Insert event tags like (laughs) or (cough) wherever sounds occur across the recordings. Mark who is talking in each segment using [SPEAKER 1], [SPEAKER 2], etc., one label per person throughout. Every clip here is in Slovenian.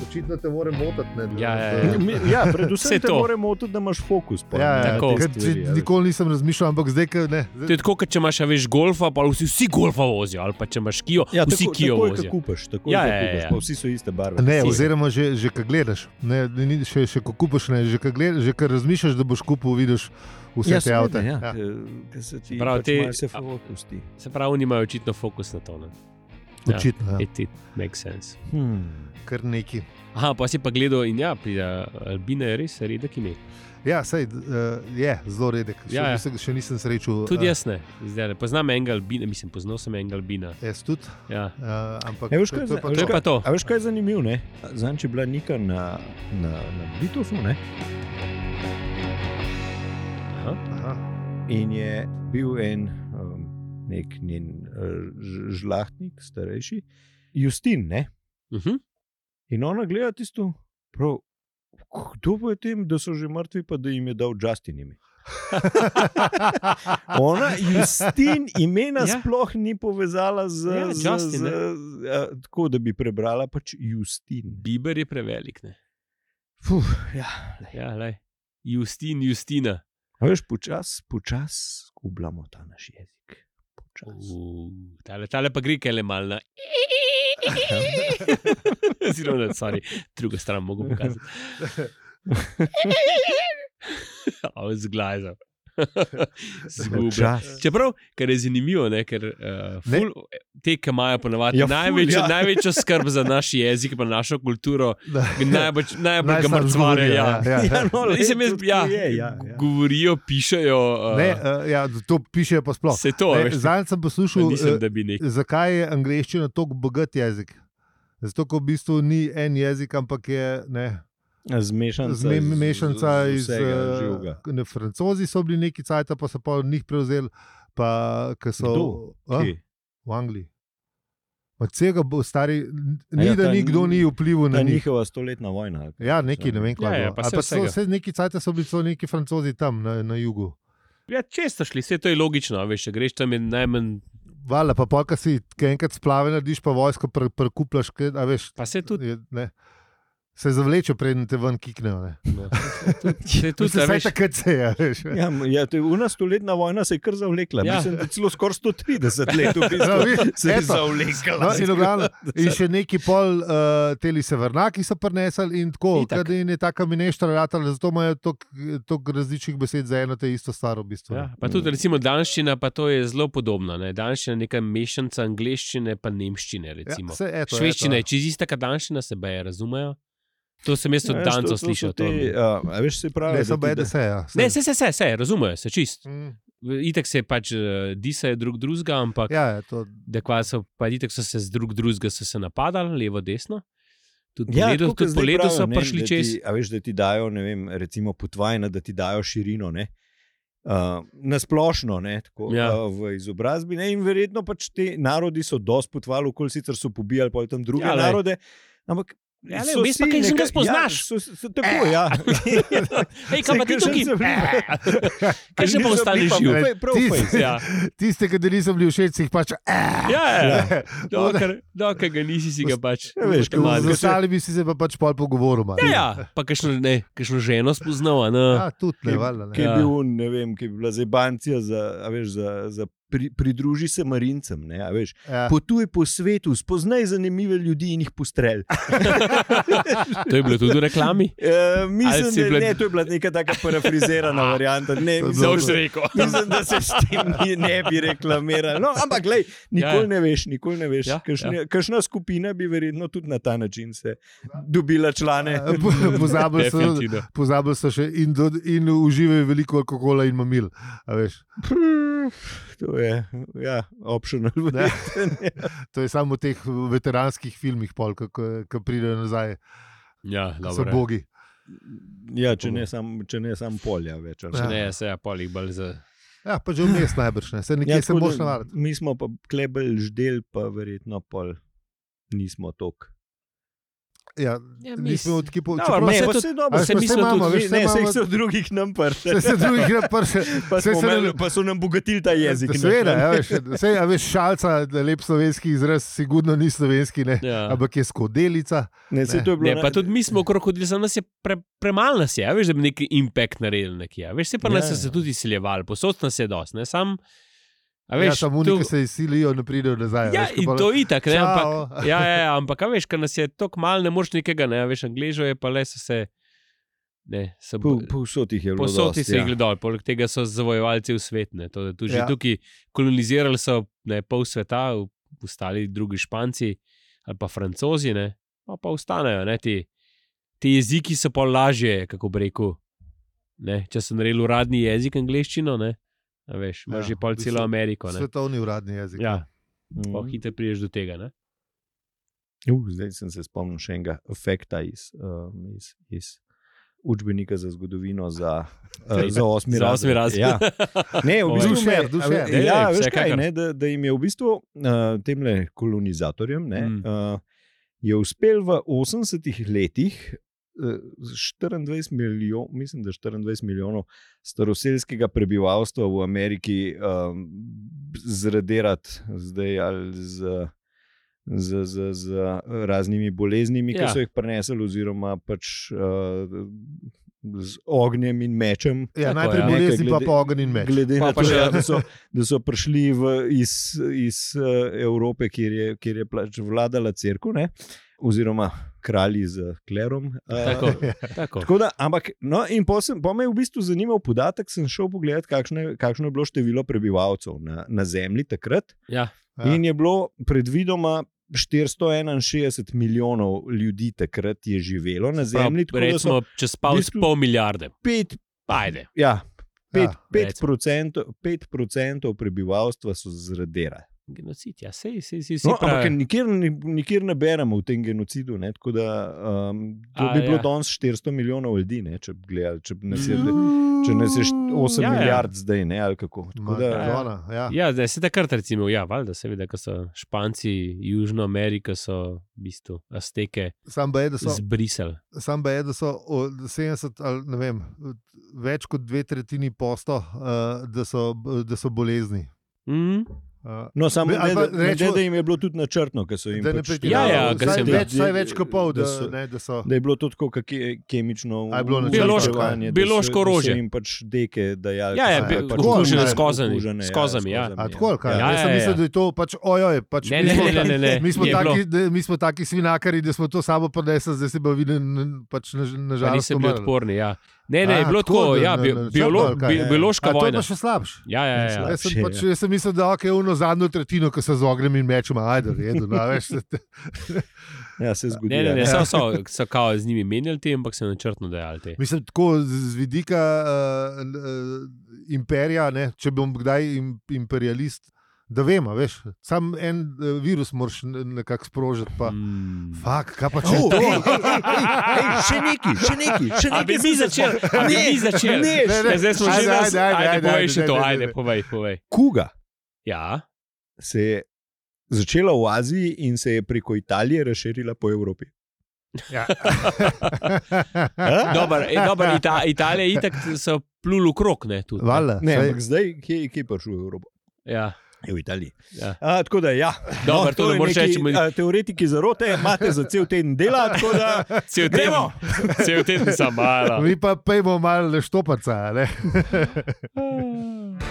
[SPEAKER 1] zaščitna te more motiti. ne, da-
[SPEAKER 2] Ja, ja, ja.
[SPEAKER 1] da-
[SPEAKER 3] Mi- Ja, predvsem
[SPEAKER 2] Vse
[SPEAKER 3] te
[SPEAKER 2] to.
[SPEAKER 3] moramo tudi, da imaš fokus. pol
[SPEAKER 1] Ja,
[SPEAKER 3] na
[SPEAKER 1] ja,
[SPEAKER 2] Tako.
[SPEAKER 3] te
[SPEAKER 1] ker
[SPEAKER 3] stvari,
[SPEAKER 1] če-
[SPEAKER 3] a veš.
[SPEAKER 1] nikoli nisem razmišljal, ampak zdaj, ko ne.
[SPEAKER 2] To
[SPEAKER 1] Zdaj,
[SPEAKER 2] je tako, kot če imaš, a veš, golfa, pa vsi, vsi golfa vozijo, ali pa če imaš kijo, ja, vsi
[SPEAKER 3] tako-
[SPEAKER 2] kijo
[SPEAKER 3] takoj, ko
[SPEAKER 2] vozijo.
[SPEAKER 3] kupiš, tako
[SPEAKER 2] Ja,
[SPEAKER 3] ja,
[SPEAKER 2] ja,
[SPEAKER 3] ja, kupiš,
[SPEAKER 2] ja.
[SPEAKER 3] pa vsi so iste barve.
[SPEAKER 1] ne,
[SPEAKER 2] si-
[SPEAKER 1] oziroma, že, že ko gledaš, ne, ni, še, še ko kupiš, ne, že ko gled- že ko razmišljaš, da boš kupil, vidiš vse te avte.
[SPEAKER 3] Ja,
[SPEAKER 1] Ja.
[SPEAKER 3] Ker se ti
[SPEAKER 2] Prav,
[SPEAKER 3] Prav, pač
[SPEAKER 2] te-
[SPEAKER 3] te... se fokusti.
[SPEAKER 2] Se pravi, oni imajo očitno fokus na to. Ne? Ja.
[SPEAKER 1] Očitno, ja.
[SPEAKER 2] It, it makes sense.
[SPEAKER 3] Hmm.
[SPEAKER 1] kar neki.
[SPEAKER 2] Aha, pa si pa gledal in ja, pri uh, Albina je res redek ime.
[SPEAKER 1] Ja, sej, uh, je zelo redek. Še,
[SPEAKER 2] Ja, ja.
[SPEAKER 1] ja, ja. še nisem srečal.
[SPEAKER 3] Eh.
[SPEAKER 1] eh,
[SPEAKER 2] Tudi jaz ne, zdaj ne. Poznam enega Albina, mislim, poznal sem enega Albina.
[SPEAKER 1] Jaz tudi,
[SPEAKER 2] Ja.
[SPEAKER 1] uh, ampak
[SPEAKER 3] Ne, veš,
[SPEAKER 1] to-
[SPEAKER 3] kaj,
[SPEAKER 1] to je pa
[SPEAKER 3] veš,
[SPEAKER 2] To je
[SPEAKER 1] to.
[SPEAKER 2] pa to.
[SPEAKER 3] A veš, kaj je zanimivo? ne? Zanj, če je bila Nika na, na, na Bitofu ne?
[SPEAKER 2] Aha.
[SPEAKER 1] Aha.
[SPEAKER 3] in je bil en um, nek njen uh, ž- žlahtnik, starejši, Justin. Ne?
[SPEAKER 2] Uh -huh.
[SPEAKER 3] In ona gleda tisto, prav, kdo bo je tem, da so že mrtvi, pa da jim je dal Justin ime.
[SPEAKER 2] (laughs)
[SPEAKER 3] Ona, Justin, imena
[SPEAKER 2] Ja.
[SPEAKER 3] ja. sploh ni povezala z,
[SPEAKER 2] Ja,
[SPEAKER 3] ja, z,
[SPEAKER 2] Justin,
[SPEAKER 3] z, z
[SPEAKER 2] ne.
[SPEAKER 3] a, tako, da bi prebrala pač Justin.
[SPEAKER 2] Biber je prevelik. Ne?
[SPEAKER 3] Fuh, ja.
[SPEAKER 2] Ja, lej. Justin, Justina.
[SPEAKER 3] A Veš, počasi počas skublamo ta naš jezik. Počasi.
[SPEAKER 2] Uh, tale, tale pa gre kele mal na. Zelo ne, sorry, drugo stran mogo pokazati. Ampak zglajzal. Zgubil.
[SPEAKER 3] Počasi.
[SPEAKER 2] Čeprav, kar je zanimivo, ne, ker uh,
[SPEAKER 1] Ne.
[SPEAKER 2] ful, te, ki imajo ponavadi ja,
[SPEAKER 3] Ja, ful,
[SPEAKER 2] največjo, ja.
[SPEAKER 3] ja.
[SPEAKER 2] največjo skrb za naš jezik, pa našo kulturo, najbolj, najbolj ga
[SPEAKER 1] Najslabše
[SPEAKER 2] mrcvarijo.
[SPEAKER 1] govorijo,
[SPEAKER 2] Ja.
[SPEAKER 1] ja, ja.
[SPEAKER 2] (laughs)
[SPEAKER 3] no, lej,
[SPEAKER 2] Mislim, jaz,
[SPEAKER 3] tudi
[SPEAKER 2] ja,
[SPEAKER 3] to je, ja, ja.
[SPEAKER 2] Govorijo, pišejo. Uh,
[SPEAKER 1] Ne, uh, ja, to piše pa sploh.
[SPEAKER 2] Se to,
[SPEAKER 1] Ne,
[SPEAKER 2] veš,
[SPEAKER 1] Zadnjič sem poslušal,
[SPEAKER 2] Mislim,
[SPEAKER 1] eh,
[SPEAKER 2] da bi nek.
[SPEAKER 1] zakaj je angliščina tako bogat jezik. Zato, ker v bistvu ni en jezik, ampak je ne,
[SPEAKER 3] Zmešanca,
[SPEAKER 1] zme, mešanca iz. eh,
[SPEAKER 3] živega.
[SPEAKER 1] ne, Francozi so bili neki cajt, pa so pa od njih prevzeli, pa ke so
[SPEAKER 3] Kdo?
[SPEAKER 1] a,
[SPEAKER 3] Kje?
[SPEAKER 1] v Angliji. Od vsega bo stari, ni
[SPEAKER 3] ja,
[SPEAKER 1] ja, da
[SPEAKER 3] ta
[SPEAKER 1] nikdo
[SPEAKER 3] ni-
[SPEAKER 1] ni vplival na
[SPEAKER 3] Ta
[SPEAKER 1] njih.
[SPEAKER 3] Ja, njihova stoletna vojna.
[SPEAKER 1] Ja, neki, ne vem, kaj
[SPEAKER 2] Ja,
[SPEAKER 1] je.
[SPEAKER 2] ja,
[SPEAKER 1] bilo.
[SPEAKER 2] pa
[SPEAKER 1] Ali
[SPEAKER 2] saj
[SPEAKER 1] pa so-
[SPEAKER 2] vsega.
[SPEAKER 1] Vse neki cajt so bili, so neki francozi tam na, na jugu.
[SPEAKER 2] Ja, če ste šli, vse to je logično, a veš, če greš tam je najmanj.
[SPEAKER 1] Vala, pa polka si ki enkrat splave, narediš pa vojsko, pre- prekupljaš, pre, a veš.
[SPEAKER 2] Pa se tudi,
[SPEAKER 1] Je, ne, se zavleče, preden te ven kiknejo. ne.
[SPEAKER 2] no, se tudi,
[SPEAKER 1] Mislim,
[SPEAKER 2] a
[SPEAKER 1] Vsaj
[SPEAKER 2] veš,
[SPEAKER 1] takrat se je. Veš,
[SPEAKER 3] Ja, m- ja, te- ona stoletna vojna se je kar zavlekla.
[SPEAKER 2] Ja.
[SPEAKER 3] Ja. Mislim, da celo skoraj 130 let v bistvu
[SPEAKER 1] Zavi-
[SPEAKER 3] se je
[SPEAKER 1] Ja, eto.
[SPEAKER 3] zavlekla.
[SPEAKER 1] No,
[SPEAKER 2] (laughs) Ja.
[SPEAKER 1] in, glavno, in še neki pol uh, teli severnaki so prenesli in tako.
[SPEAKER 2] Itak.
[SPEAKER 1] kad In je taka mineštra ratala, zato imajo toliko različnih besed za eno te isto staro v bistvu.
[SPEAKER 2] ja, pa tudi recimo danščina, pa to je zelo podobno. Ne? Danščina je neka mešanica angleščine pa nemščine.
[SPEAKER 1] ja,
[SPEAKER 2] recimo.
[SPEAKER 1] se, eto,
[SPEAKER 2] Švedščina je
[SPEAKER 1] eto,
[SPEAKER 2] čez ista, kot danščina se beje, razumejo. To sem jaz od
[SPEAKER 3] Ja,
[SPEAKER 2] Dancev
[SPEAKER 3] to- to so
[SPEAKER 2] slišal. to
[SPEAKER 3] Te,
[SPEAKER 2] mi-
[SPEAKER 3] a, a veš, se
[SPEAKER 1] ja.
[SPEAKER 3] pravi,
[SPEAKER 1] Ne, so
[SPEAKER 3] da ti da-
[SPEAKER 1] bede se, ja.
[SPEAKER 2] Ne, se, se, se, se razumejo, se čist.
[SPEAKER 1] Mm,
[SPEAKER 2] Itek se pač eh, disajo drug drugega, ampak
[SPEAKER 1] Ja, je to.
[SPEAKER 2] da kva so, pa itek so se z drug drugega so se napadali, levo, desno. Tudi
[SPEAKER 3] Ja,
[SPEAKER 2] po ledu,
[SPEAKER 3] tako kot
[SPEAKER 2] tudi po
[SPEAKER 3] zdaj
[SPEAKER 2] ledu so
[SPEAKER 3] pravijo, ne, da
[SPEAKER 2] prišli čez.
[SPEAKER 3] Ti, a veš, da ti dajo, ne vem, recimo potvajna, da ti dajo širino. Ne? Uh, nasplošno, ne, tako,
[SPEAKER 2] Ja.
[SPEAKER 3] ja. uh, v izobrazbi. Ne, in verjetno pač ti narodi so dosti potovali, okoli sicer so pobijali pol tam druge
[SPEAKER 2] Ja,
[SPEAKER 3] ja,
[SPEAKER 2] lej.
[SPEAKER 3] narode. Ampak,
[SPEAKER 2] Ja, lej,
[SPEAKER 3] so
[SPEAKER 2] vmes pa
[SPEAKER 3] si
[SPEAKER 2] kaj že
[SPEAKER 3] neka-
[SPEAKER 2] ga spoznaš. (laughs)
[SPEAKER 3] Ja, so, so, tako, ja.
[SPEAKER 2] Hej, kaj pa ti
[SPEAKER 3] Saj, ker še
[SPEAKER 2] tukaj? Eh.
[SPEAKER 3] nisem bil- (laughs)
[SPEAKER 2] Kaj še
[SPEAKER 3] nisem
[SPEAKER 2] bom
[SPEAKER 3] bil
[SPEAKER 2] ostali
[SPEAKER 3] pa
[SPEAKER 2] živ?
[SPEAKER 3] prav-
[SPEAKER 1] Ne,
[SPEAKER 3] prav
[SPEAKER 1] ti-
[SPEAKER 3] fejst.
[SPEAKER 2] Ja,
[SPEAKER 1] Tiste, ki niso bili všeč, si jih pač. Eh,
[SPEAKER 2] ja, ja.
[SPEAKER 1] (laughs) to-
[SPEAKER 2] Dokler, dokler ga nisi, si ga pač.
[SPEAKER 3] Ja, veš, ko
[SPEAKER 1] Z
[SPEAKER 2] avtomatsko.
[SPEAKER 1] ostali bi si se pa pač pol pogovoril. malo.
[SPEAKER 2] Ja, ja, pa kakšno, ne, kakšno ženo spoznava.
[SPEAKER 1] Ja,
[SPEAKER 2] No.
[SPEAKER 1] tudi ne, valjda. (laughs)
[SPEAKER 3] Ki
[SPEAKER 1] ne.
[SPEAKER 3] je
[SPEAKER 2] Ja.
[SPEAKER 3] bil, ne vem, ki je bila zdaj bancija za, a veš, za, za pri, pridruži se marincem, ne, a veš.
[SPEAKER 1] Ja.
[SPEAKER 3] Potuj po svetu, spoznaj zanimive ljudi in jih postrel.
[SPEAKER 2] To je bilo tudi v
[SPEAKER 3] (laughs)
[SPEAKER 2] reklami.
[SPEAKER 3] E,
[SPEAKER 2] Ali
[SPEAKER 3] mislim,
[SPEAKER 2] si bila-
[SPEAKER 3] da bila... ne, to je bila neka taka parafrizirana varianta. Ne,
[SPEAKER 1] To je
[SPEAKER 3] mislim,
[SPEAKER 1] bilo-
[SPEAKER 2] Zelo
[SPEAKER 3] da
[SPEAKER 2] si
[SPEAKER 3] se,
[SPEAKER 2] rekel.
[SPEAKER 3] mislim, da se s tem ni- ne bi reklamirali. No, ampak, glej, nikoli
[SPEAKER 2] Ja, ja.
[SPEAKER 3] ja, ja. ne veš, nikoli ne veš.
[SPEAKER 2] Ja,
[SPEAKER 3] Ja, Kašne, ja. Kakšna skupina bi verjetno tudi na ta način se dobila
[SPEAKER 1] (laughs)
[SPEAKER 3] člane.
[SPEAKER 1] Po- Pozabili so,
[SPEAKER 2] Definitivno.
[SPEAKER 1] pozabili so še in, do, in uživajo veliko alkohola in mamil. a veš.
[SPEAKER 3] To je ja, optional.
[SPEAKER 1] Ne.
[SPEAKER 3] Ne.
[SPEAKER 1] To je samo v teh veteranskih filmih, pol, ko, ko ko pridejo nazaj,
[SPEAKER 2] Ja,
[SPEAKER 1] ko so
[SPEAKER 2] dobro.
[SPEAKER 1] bogi.
[SPEAKER 3] Ja, če ne sam, če ne sam polja več. ali
[SPEAKER 2] Če
[SPEAKER 3] ne.
[SPEAKER 2] ne, se ja, polih bolj za.
[SPEAKER 1] Ja, pa že vmes najbrž, ne. se nekje ja, se
[SPEAKER 3] tako da
[SPEAKER 1] moraš navaditi.
[SPEAKER 3] Mi smo pa klebel ždel, pa verjetno pol nismo tok.
[SPEAKER 1] Ja,
[SPEAKER 2] Ja,
[SPEAKER 1] nismo
[SPEAKER 2] mis-
[SPEAKER 1] odkipo,
[SPEAKER 3] Dobro,
[SPEAKER 1] čeprav
[SPEAKER 3] ne,
[SPEAKER 1] se,
[SPEAKER 2] vse
[SPEAKER 3] pa
[SPEAKER 2] to-
[SPEAKER 3] saj dobro,
[SPEAKER 1] a
[SPEAKER 2] saj
[SPEAKER 1] veš, pa
[SPEAKER 2] mi
[SPEAKER 1] saj
[SPEAKER 2] smo
[SPEAKER 1] imamo,
[SPEAKER 2] tudi-
[SPEAKER 1] veš,
[SPEAKER 3] Ne,
[SPEAKER 1] saj
[SPEAKER 3] ne,
[SPEAKER 1] imamo-
[SPEAKER 3] vse jih so drugih nam prste.
[SPEAKER 1] saj se drugih ne prše.
[SPEAKER 3] (laughs) Pa,
[SPEAKER 1] saj
[SPEAKER 3] smo
[SPEAKER 1] se ne-
[SPEAKER 3] imeli- pa so nam bogatili ta jezik. ne.
[SPEAKER 1] Seveda, ja, veš, sej, ja, veš, šalca, lep slovenski izraz, sigurno ni slovenski, ne,
[SPEAKER 2] Ja.
[SPEAKER 1] ampak je skodelica.
[SPEAKER 3] Ne, saj
[SPEAKER 1] Ne.
[SPEAKER 3] to je bilo
[SPEAKER 2] Ne,
[SPEAKER 3] na-
[SPEAKER 2] pa tudi mi smo krokodili, za nas je pre, premalo nas je, a veš, da bi neki impact naredili nekje. a Veš, se pa
[SPEAKER 3] Ja,
[SPEAKER 2] nas je
[SPEAKER 3] ja.
[SPEAKER 2] se tudi izsiljevali, posod nas je dost, ne sam. a
[SPEAKER 1] Ja,
[SPEAKER 2] Veš,
[SPEAKER 1] tam unika
[SPEAKER 2] to-
[SPEAKER 1] se izsilijo, ne pridejo nazaj.
[SPEAKER 2] Ja,
[SPEAKER 1] veš, ko
[SPEAKER 2] in
[SPEAKER 1] pa-
[SPEAKER 2] to itak, ne, ampak,
[SPEAKER 1] Čao.
[SPEAKER 2] (laughs) ja, ja, ja, ampak, a veš, ker nas je tako malo, ne moreš nekega, ne, a veš, angližo je pa le so se, ne, se bo,
[SPEAKER 3] Po- Povsod jih je bilo.
[SPEAKER 2] posod
[SPEAKER 3] dosti,
[SPEAKER 2] se je
[SPEAKER 3] ja.
[SPEAKER 2] gledal, poleg tega so zavojevalci v svet, ne, to, tu, že
[SPEAKER 1] Ja.
[SPEAKER 2] tukaj kolonizirali so ne, pol sveta, v- ostali drugi španci ali pa francozi, ne, pa, pa ostanejo, ne, ti, ti jeziki so pa lažje, kako bi rekel, ne, če so naredili uradni jezik angliščino, ne, a veš,
[SPEAKER 1] Ja,
[SPEAKER 2] imaš že pol
[SPEAKER 1] v
[SPEAKER 2] celo
[SPEAKER 1] bistvu
[SPEAKER 2] Ameriko, ne.
[SPEAKER 1] Svetovni uradni jezik.
[SPEAKER 2] Ja,
[SPEAKER 3] Mhm.
[SPEAKER 2] pa hitro priješ do tega. Ne?
[SPEAKER 3] Uh, zdaj sem se spomnil še enega efekta iz, um, iz, iz učbenika za zgodovino za, uh, za osmi
[SPEAKER 2] Za osmi razred. (laughs)
[SPEAKER 3] Ja. Ne, v
[SPEAKER 2] Povej.
[SPEAKER 3] bistvu
[SPEAKER 1] Dušer,
[SPEAKER 3] me-
[SPEAKER 1] Dušer.
[SPEAKER 3] a ve-
[SPEAKER 2] Daj,
[SPEAKER 3] Ja,
[SPEAKER 2] daj,
[SPEAKER 3] veš kaj,
[SPEAKER 2] vsekakor.
[SPEAKER 3] ne, da, da jim je v bistvu uh, temle kolonizatorjem ne,
[SPEAKER 2] Mm.
[SPEAKER 3] mm. uh, je uspel v 80-ih letih. eh, z 24 milijonov, mislim, da 24 milijonov staroseljskega prebivalstva v Ameriki um, zradirati zdaj ali z, z, z, z raznimi boleznimi, ja.
[SPEAKER 2] Ja.
[SPEAKER 3] ki so jih prenesli, oziroma pač uh, z ognjem in mečem.
[SPEAKER 1] Ja,
[SPEAKER 2] Tako,
[SPEAKER 1] najprej
[SPEAKER 2] ja.
[SPEAKER 1] bolezni,
[SPEAKER 3] Nekaj
[SPEAKER 1] pa
[SPEAKER 3] glede-
[SPEAKER 1] pa ogen in meč.
[SPEAKER 3] Glede
[SPEAKER 2] Pa
[SPEAKER 3] na
[SPEAKER 2] pa
[SPEAKER 3] to,
[SPEAKER 2] še-
[SPEAKER 3] ja, da, so, da so prišli v, iz, iz eh, Evrope, kjer je, kjer je plač vladala crkva, oziroma kralji z klerom. eh,
[SPEAKER 2] Tako, tako.
[SPEAKER 3] Tako da, ampak, no, in potem me je v bistvu zanimal podatek, sem šel pogledat, kakšno je, kakšno je bilo število prebivalcev na, na Zemlji takrat.
[SPEAKER 2] Ja.
[SPEAKER 1] Ja.
[SPEAKER 3] In je bilo predvidoma 461 milijonov ljudi takrat je živelo na Zemlji,
[SPEAKER 2] Prav,
[SPEAKER 3] tako da so
[SPEAKER 2] recimo, če spal s
[SPEAKER 3] bistvu-
[SPEAKER 2] pol milijarde,
[SPEAKER 3] pet,
[SPEAKER 2] pajde.
[SPEAKER 3] ja, pet,
[SPEAKER 1] Ja,
[SPEAKER 3] pet,
[SPEAKER 2] recimo.
[SPEAKER 3] procentov, pet procentov prebivalstva so zradera.
[SPEAKER 2] Genocid, ja, sej, sej, sej, sej
[SPEAKER 3] No, ampak nikjer, ni- nikjer ne beremo v tem genocidu. Ne, tako da um, to
[SPEAKER 2] A,
[SPEAKER 3] bi bilo
[SPEAKER 2] ja.
[SPEAKER 3] danes 400 milijonov ljudi, ne, če, bi gledali, če bi nas je.
[SPEAKER 2] Mm.
[SPEAKER 3] Če ne seš 8
[SPEAKER 2] Ja,
[SPEAKER 3] ja,
[SPEAKER 2] ja.
[SPEAKER 3] milijard ja. zdaj, ne ali kako. Tako Da,
[SPEAKER 2] ja.
[SPEAKER 1] Maradona, ja.
[SPEAKER 2] Ja, zdaj se takrat recimo, ja, valjda, seveda, ker so Španci, Južna Amerika, so v bistvu Azteke
[SPEAKER 1] Sam pa je, da so,
[SPEAKER 2] zbrisali.
[SPEAKER 1] sam pa je, da so od 70 ali ne vem, več kot dve tretjini posto, uh, da, so, da so bolezni.
[SPEAKER 2] Mm?
[SPEAKER 1] Uh,
[SPEAKER 3] no, samo
[SPEAKER 1] Be- ali
[SPEAKER 3] ne,
[SPEAKER 1] pa
[SPEAKER 3] da, ne,
[SPEAKER 1] rečemo-
[SPEAKER 3] da jim je bilo tudi načrtno, ker so jim
[SPEAKER 1] da ne
[SPEAKER 3] pač-
[SPEAKER 1] pretiravajo.
[SPEAKER 2] Ja, ja, ker
[SPEAKER 1] vsaj
[SPEAKER 2] se da.
[SPEAKER 1] več, vsaj več kot pol, da,
[SPEAKER 3] da so-
[SPEAKER 1] ne, da so.
[SPEAKER 3] Da je bilo to tako kot ke, kemično,
[SPEAKER 1] A je bilo načrtno?
[SPEAKER 2] Biološko-
[SPEAKER 3] uničevanje, da so-
[SPEAKER 2] biološko
[SPEAKER 3] Da
[SPEAKER 2] orožje.
[SPEAKER 3] so jim pač deke dajali.
[SPEAKER 2] Ja,
[SPEAKER 3] ki
[SPEAKER 2] ja,
[SPEAKER 3] so
[SPEAKER 1] bi-
[SPEAKER 3] bile
[SPEAKER 1] tako,
[SPEAKER 3] okužene,
[SPEAKER 1] ne, s
[SPEAKER 2] kozami,
[SPEAKER 3] okužene,
[SPEAKER 2] s kozami, ja.
[SPEAKER 1] A tako ali kaj?
[SPEAKER 2] Ja,
[SPEAKER 1] Jaz sem
[SPEAKER 2] ja,
[SPEAKER 1] mislil,
[SPEAKER 2] ja.
[SPEAKER 1] da je to pač ojoj. Pač
[SPEAKER 2] Ne,
[SPEAKER 1] mi
[SPEAKER 2] ne,
[SPEAKER 1] smo-
[SPEAKER 2] ne, ne, ne.
[SPEAKER 1] Mi smo,
[SPEAKER 2] je bilo.
[SPEAKER 1] taki, da, mi smo taki svinakari, da smo to sabo prinesli, zdaj se pa vidi, n- pač na, na
[SPEAKER 2] Pa
[SPEAKER 1] žalost.
[SPEAKER 2] niso bili
[SPEAKER 1] umrli.
[SPEAKER 2] odporni. Ja. Ne, ne,
[SPEAKER 1] A,
[SPEAKER 2] je bilo
[SPEAKER 1] tako,
[SPEAKER 2] tako,
[SPEAKER 1] da-
[SPEAKER 2] ja,
[SPEAKER 1] da-
[SPEAKER 2] bi,
[SPEAKER 1] da-
[SPEAKER 2] biolo,
[SPEAKER 1] črno ali kaj?
[SPEAKER 2] bi,
[SPEAKER 3] Ja, ja.
[SPEAKER 2] biološka
[SPEAKER 1] A to je
[SPEAKER 2] vojna.
[SPEAKER 1] pa še slabše.
[SPEAKER 2] Ja, ja, ja.
[SPEAKER 1] Jaz sem,
[SPEAKER 3] Slabše,
[SPEAKER 1] pač,
[SPEAKER 3] ja.
[SPEAKER 1] jaz sem mislil, da okay, uno zadnjo tretjino, ki se z ognjem in mečem, ajde, redo, no, veš,
[SPEAKER 3] Ja, se zgodi.
[SPEAKER 2] Ne, ne, ne,
[SPEAKER 3] ja.
[SPEAKER 2] so, so, so kao z njimi menjali, te, ampak so načrtno dajali. Te.
[SPEAKER 1] Mislim, tako z z vidika uh, uh, imperija, ne, če bom kdaj im, imperialist, da vem, a veš, sam en uh, virus moraš ne- nekako sprožiti. Pa,
[SPEAKER 2] Mm.
[SPEAKER 1] fak, kaj pa če
[SPEAKER 3] Oh,
[SPEAKER 1] to?
[SPEAKER 3] (laughs) ej, ej, ej, ej, še neki, še neki, še
[SPEAKER 2] A bi
[SPEAKER 3] neki.
[SPEAKER 2] mi začeli, a bi
[SPEAKER 3] Ne,
[SPEAKER 2] mi začeli.
[SPEAKER 3] ne,
[SPEAKER 1] Ne,
[SPEAKER 2] Ja, zdaj smo že
[SPEAKER 1] Ajde,
[SPEAKER 2] na
[SPEAKER 1] ajde, ajde,
[SPEAKER 2] Ajde,
[SPEAKER 1] ajde,
[SPEAKER 2] povej
[SPEAKER 1] ajde,
[SPEAKER 2] še to,
[SPEAKER 1] ajde,
[SPEAKER 2] ajde,
[SPEAKER 1] ajde.
[SPEAKER 2] povej, povej.
[SPEAKER 3] Kuga
[SPEAKER 2] Ja,
[SPEAKER 3] se je začela v Aziji in se je preko Italije razširila po Evropi.
[SPEAKER 1] Ja. (laughs)
[SPEAKER 2] dober, e, dober Ita Italija je itak so plul krok, ne, tudi. ne.
[SPEAKER 1] Valjda,
[SPEAKER 3] Ne,
[SPEAKER 1] saj-
[SPEAKER 3] ampak zdaj, kje, kje je prišel v Evropo?
[SPEAKER 2] Ja,
[SPEAKER 3] Je v Italiji.
[SPEAKER 2] Ja.
[SPEAKER 3] A, tako da, ja.
[SPEAKER 2] Dobro, to ne
[SPEAKER 3] je
[SPEAKER 2] moreš
[SPEAKER 3] neki, eh,
[SPEAKER 2] reči, meni-
[SPEAKER 3] a, Teoretiki zarote imate za cel teden dela, tako da
[SPEAKER 2] cel teden,
[SPEAKER 3] Gremo!
[SPEAKER 2] (laughs) cel teden (laughs) sem
[SPEAKER 1] (laughs)
[SPEAKER 2] malo.
[SPEAKER 1] Mi pa pejmo malo štopaca. Ne? (laughs)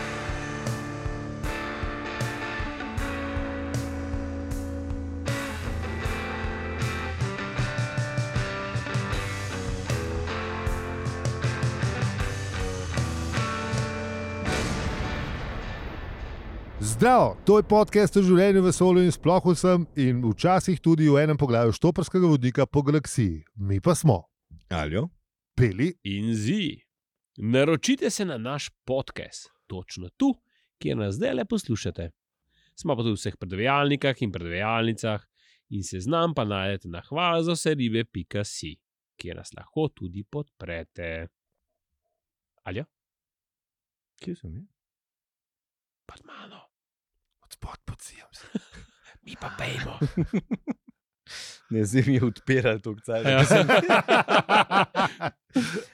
[SPEAKER 1] Zdravo, to je podcast o življenju v vesolju in sploh vsem, in včasih tudi v enem poglavju štoprskega vodnika po galaksiji. Mi pa smo
[SPEAKER 3] Aljo.
[SPEAKER 1] peli,
[SPEAKER 2] In zi, naročite se na naš podcast, točno tu, kjer nas zdaj le poslušate. Smo pa tudi v vseh predvajalnikah in predvajalnicah, in seznam pa najdete na hvala za vse ribe.si, kjer nas lahko tudi podprete. Alja,
[SPEAKER 3] Kje sem jaz?
[SPEAKER 2] pa z mano,
[SPEAKER 1] od spod pod sijem.
[SPEAKER 2] mi pa pejmo.
[SPEAKER 3] Ne (laughs) zim je odpiral to
[SPEAKER 2] Ja.
[SPEAKER 3] kcaj.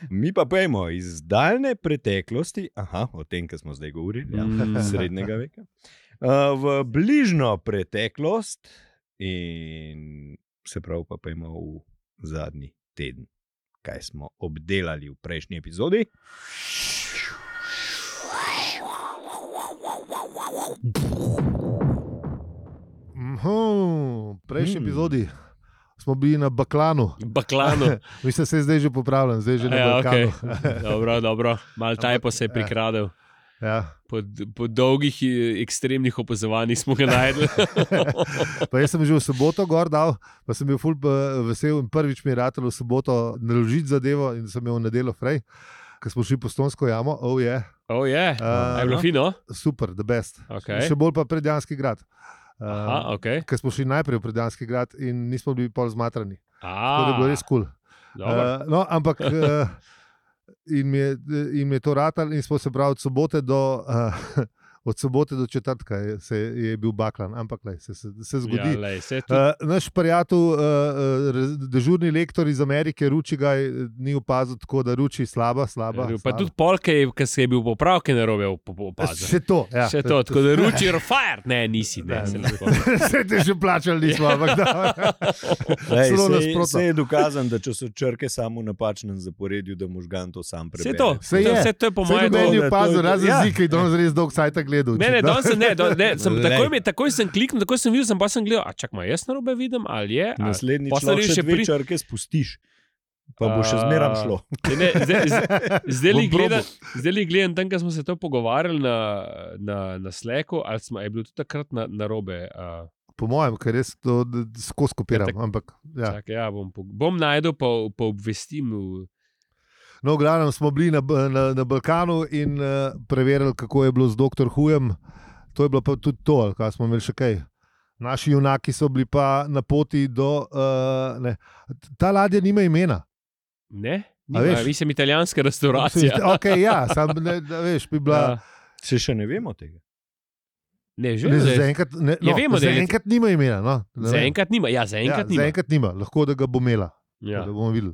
[SPEAKER 3] Mi pa pojmo iz daljne preteklosti, aha, o tem, kar smo zdaj govorili, ja,
[SPEAKER 2] Mm.
[SPEAKER 3] (laughs) srednjega veka, a, v bližnjo preteklost, in se pravi, pa pojmo v zadnji teden, kaj smo obdelali v prejšnji epizodi.
[SPEAKER 1] Mhm, prejšnji
[SPEAKER 3] Mm.
[SPEAKER 2] Hmm.
[SPEAKER 1] mm. epizodi smo bili na Baklanu.
[SPEAKER 2] (laughs) Baklano.
[SPEAKER 1] Mislim, se zdaj že popravljam, zdaj že na
[SPEAKER 2] Ja,
[SPEAKER 1] Balkanu. (laughs)
[SPEAKER 2] okay. dobro, dobro. Mal tajpo se je prikradel.
[SPEAKER 1] Ja.
[SPEAKER 2] Po, po dolgih eh, ekstremnih opazovanjih smo ga
[SPEAKER 1] (laughs)
[SPEAKER 2] najdli.
[SPEAKER 1] Pa jaz sem že v soboto gor dal, pa sem bil ful eh, vesel in prvič mi je ratel v soboto naložiti zadevo in sem imel nedelo frej, ker smo šli po Stonsko jamo, oh je,
[SPEAKER 2] Oh, je.
[SPEAKER 1] A,
[SPEAKER 2] A je bilo
[SPEAKER 1] no.
[SPEAKER 2] fino?
[SPEAKER 1] super, the best.
[SPEAKER 2] Okay.
[SPEAKER 1] Še bolj pa predjanski grad. Eh,
[SPEAKER 2] Aha, ok.
[SPEAKER 1] Ker smo šli najprej v predjanski grad in nismo bili pol zmatrani. Tako da je bilo
[SPEAKER 2] A,
[SPEAKER 1] res eh, kul. Cool.
[SPEAKER 2] Ah, dobro.
[SPEAKER 1] Eh, (laughs) no, ampak uh, jim, je, jim je to ratal, in smo se pravi od sobote do, uh, (laughs) od sobote do četrtka je, se, je bil baklan, ampak lej, se, se, se zgodi.
[SPEAKER 2] Ja,
[SPEAKER 1] Ja,
[SPEAKER 2] lej, se tudi...
[SPEAKER 1] Uh, naš prijatelj, uh, uh, dežurni lektor iz Amerike, Ruči ga je, eh, ni opazil tako, da Ruči slaba, slaba.
[SPEAKER 2] Ja, Pa
[SPEAKER 1] slaba.
[SPEAKER 2] tudi polk, ki se je bil popravke na robe opazil.
[SPEAKER 1] Še to, ja.
[SPEAKER 2] Še to,
[SPEAKER 1] (laughs)
[SPEAKER 2] tako da ruči, fire, ne, nisi,
[SPEAKER 1] Ja.
[SPEAKER 2] ne, se lahko.
[SPEAKER 1] Vse te že plačali,
[SPEAKER 2] Ja.
[SPEAKER 1] nismo. ampak
[SPEAKER 2] (laughs)
[SPEAKER 1] da.
[SPEAKER 3] Lej,
[SPEAKER 1] Celo
[SPEAKER 3] sej,
[SPEAKER 1] nasprotno.
[SPEAKER 3] sej je dokazano, da če so črke samo v napačnem zaporedju, da možgan to sam
[SPEAKER 2] Vse
[SPEAKER 3] prebere.
[SPEAKER 2] to,
[SPEAKER 1] Saj je.
[SPEAKER 2] vse to je po
[SPEAKER 1] Saj
[SPEAKER 2] mojem.
[SPEAKER 1] noben
[SPEAKER 3] to,
[SPEAKER 1] ni
[SPEAKER 3] da, to je
[SPEAKER 1] opazil,
[SPEAKER 3] to.
[SPEAKER 1] razen
[SPEAKER 3] Ja.
[SPEAKER 1] ja. zike, danes res dolg sajta gledal.
[SPEAKER 2] Ne, ne,
[SPEAKER 1] očitno.
[SPEAKER 2] danes sem, ne, do, ne, sem,
[SPEAKER 3] Lej.
[SPEAKER 2] takoj, mi, takoj sem kliknil, takoj sem videl, sem pa sem gledal, a čak, ma jaz narobe vidim, ali je. Ali...
[SPEAKER 3] Naslednjič
[SPEAKER 2] Pol sem
[SPEAKER 3] lahko
[SPEAKER 2] bil
[SPEAKER 3] še
[SPEAKER 2] še
[SPEAKER 3] dve
[SPEAKER 2] pri-
[SPEAKER 3] črke spustiš, pa bo še zmeraj šlo.
[SPEAKER 2] Ne, Ne, zdaj, zdaj, zdaj, li
[SPEAKER 1] Bom probal.
[SPEAKER 2] gledam, zdaj li gledam, tam, ko smo se to pogovarjali na, na, na Slacku, ali smo, je bilo tudi takrat na, na robe. Uh,
[SPEAKER 1] Po mojem, ker res to d- d- skozi kopiram.
[SPEAKER 2] Ja, tak-
[SPEAKER 1] Ampak, ja.
[SPEAKER 2] ja. Čak, ja, bom, po- bom najdel, pa, pa obvestim. v-
[SPEAKER 1] No, v glavnem smo bili na, B- na, na Balkanu in uh, preverili, kako je bilo z doktor Hujem. To je bilo pa tudi to, ali kaj smo imeli še kaj. Naši junaki so bili pa na poti do. Uh, ne. Ta ladja nima imena.
[SPEAKER 2] Ne,
[SPEAKER 1] A veš?
[SPEAKER 2] Nima, vi ste italijanska restauracija.
[SPEAKER 1] Okay, ja, sam, ne, da, veš, bi bila,
[SPEAKER 2] Ja.
[SPEAKER 3] Se še ne vemo tega.
[SPEAKER 2] Ne, že
[SPEAKER 1] ne,
[SPEAKER 2] zdaj-
[SPEAKER 1] zaenkrat, ne,
[SPEAKER 2] Ja,
[SPEAKER 1] no,
[SPEAKER 2] vemo, da je-
[SPEAKER 1] zaenkrat nima imena. No, Ne vem.
[SPEAKER 2] Zaenkrat nima, ja, zaenkrat
[SPEAKER 1] ja,
[SPEAKER 2] nima.
[SPEAKER 1] zaenkrat nima, lahko da ga bo imela. ja.
[SPEAKER 2] Ja.
[SPEAKER 1] da bomo videli.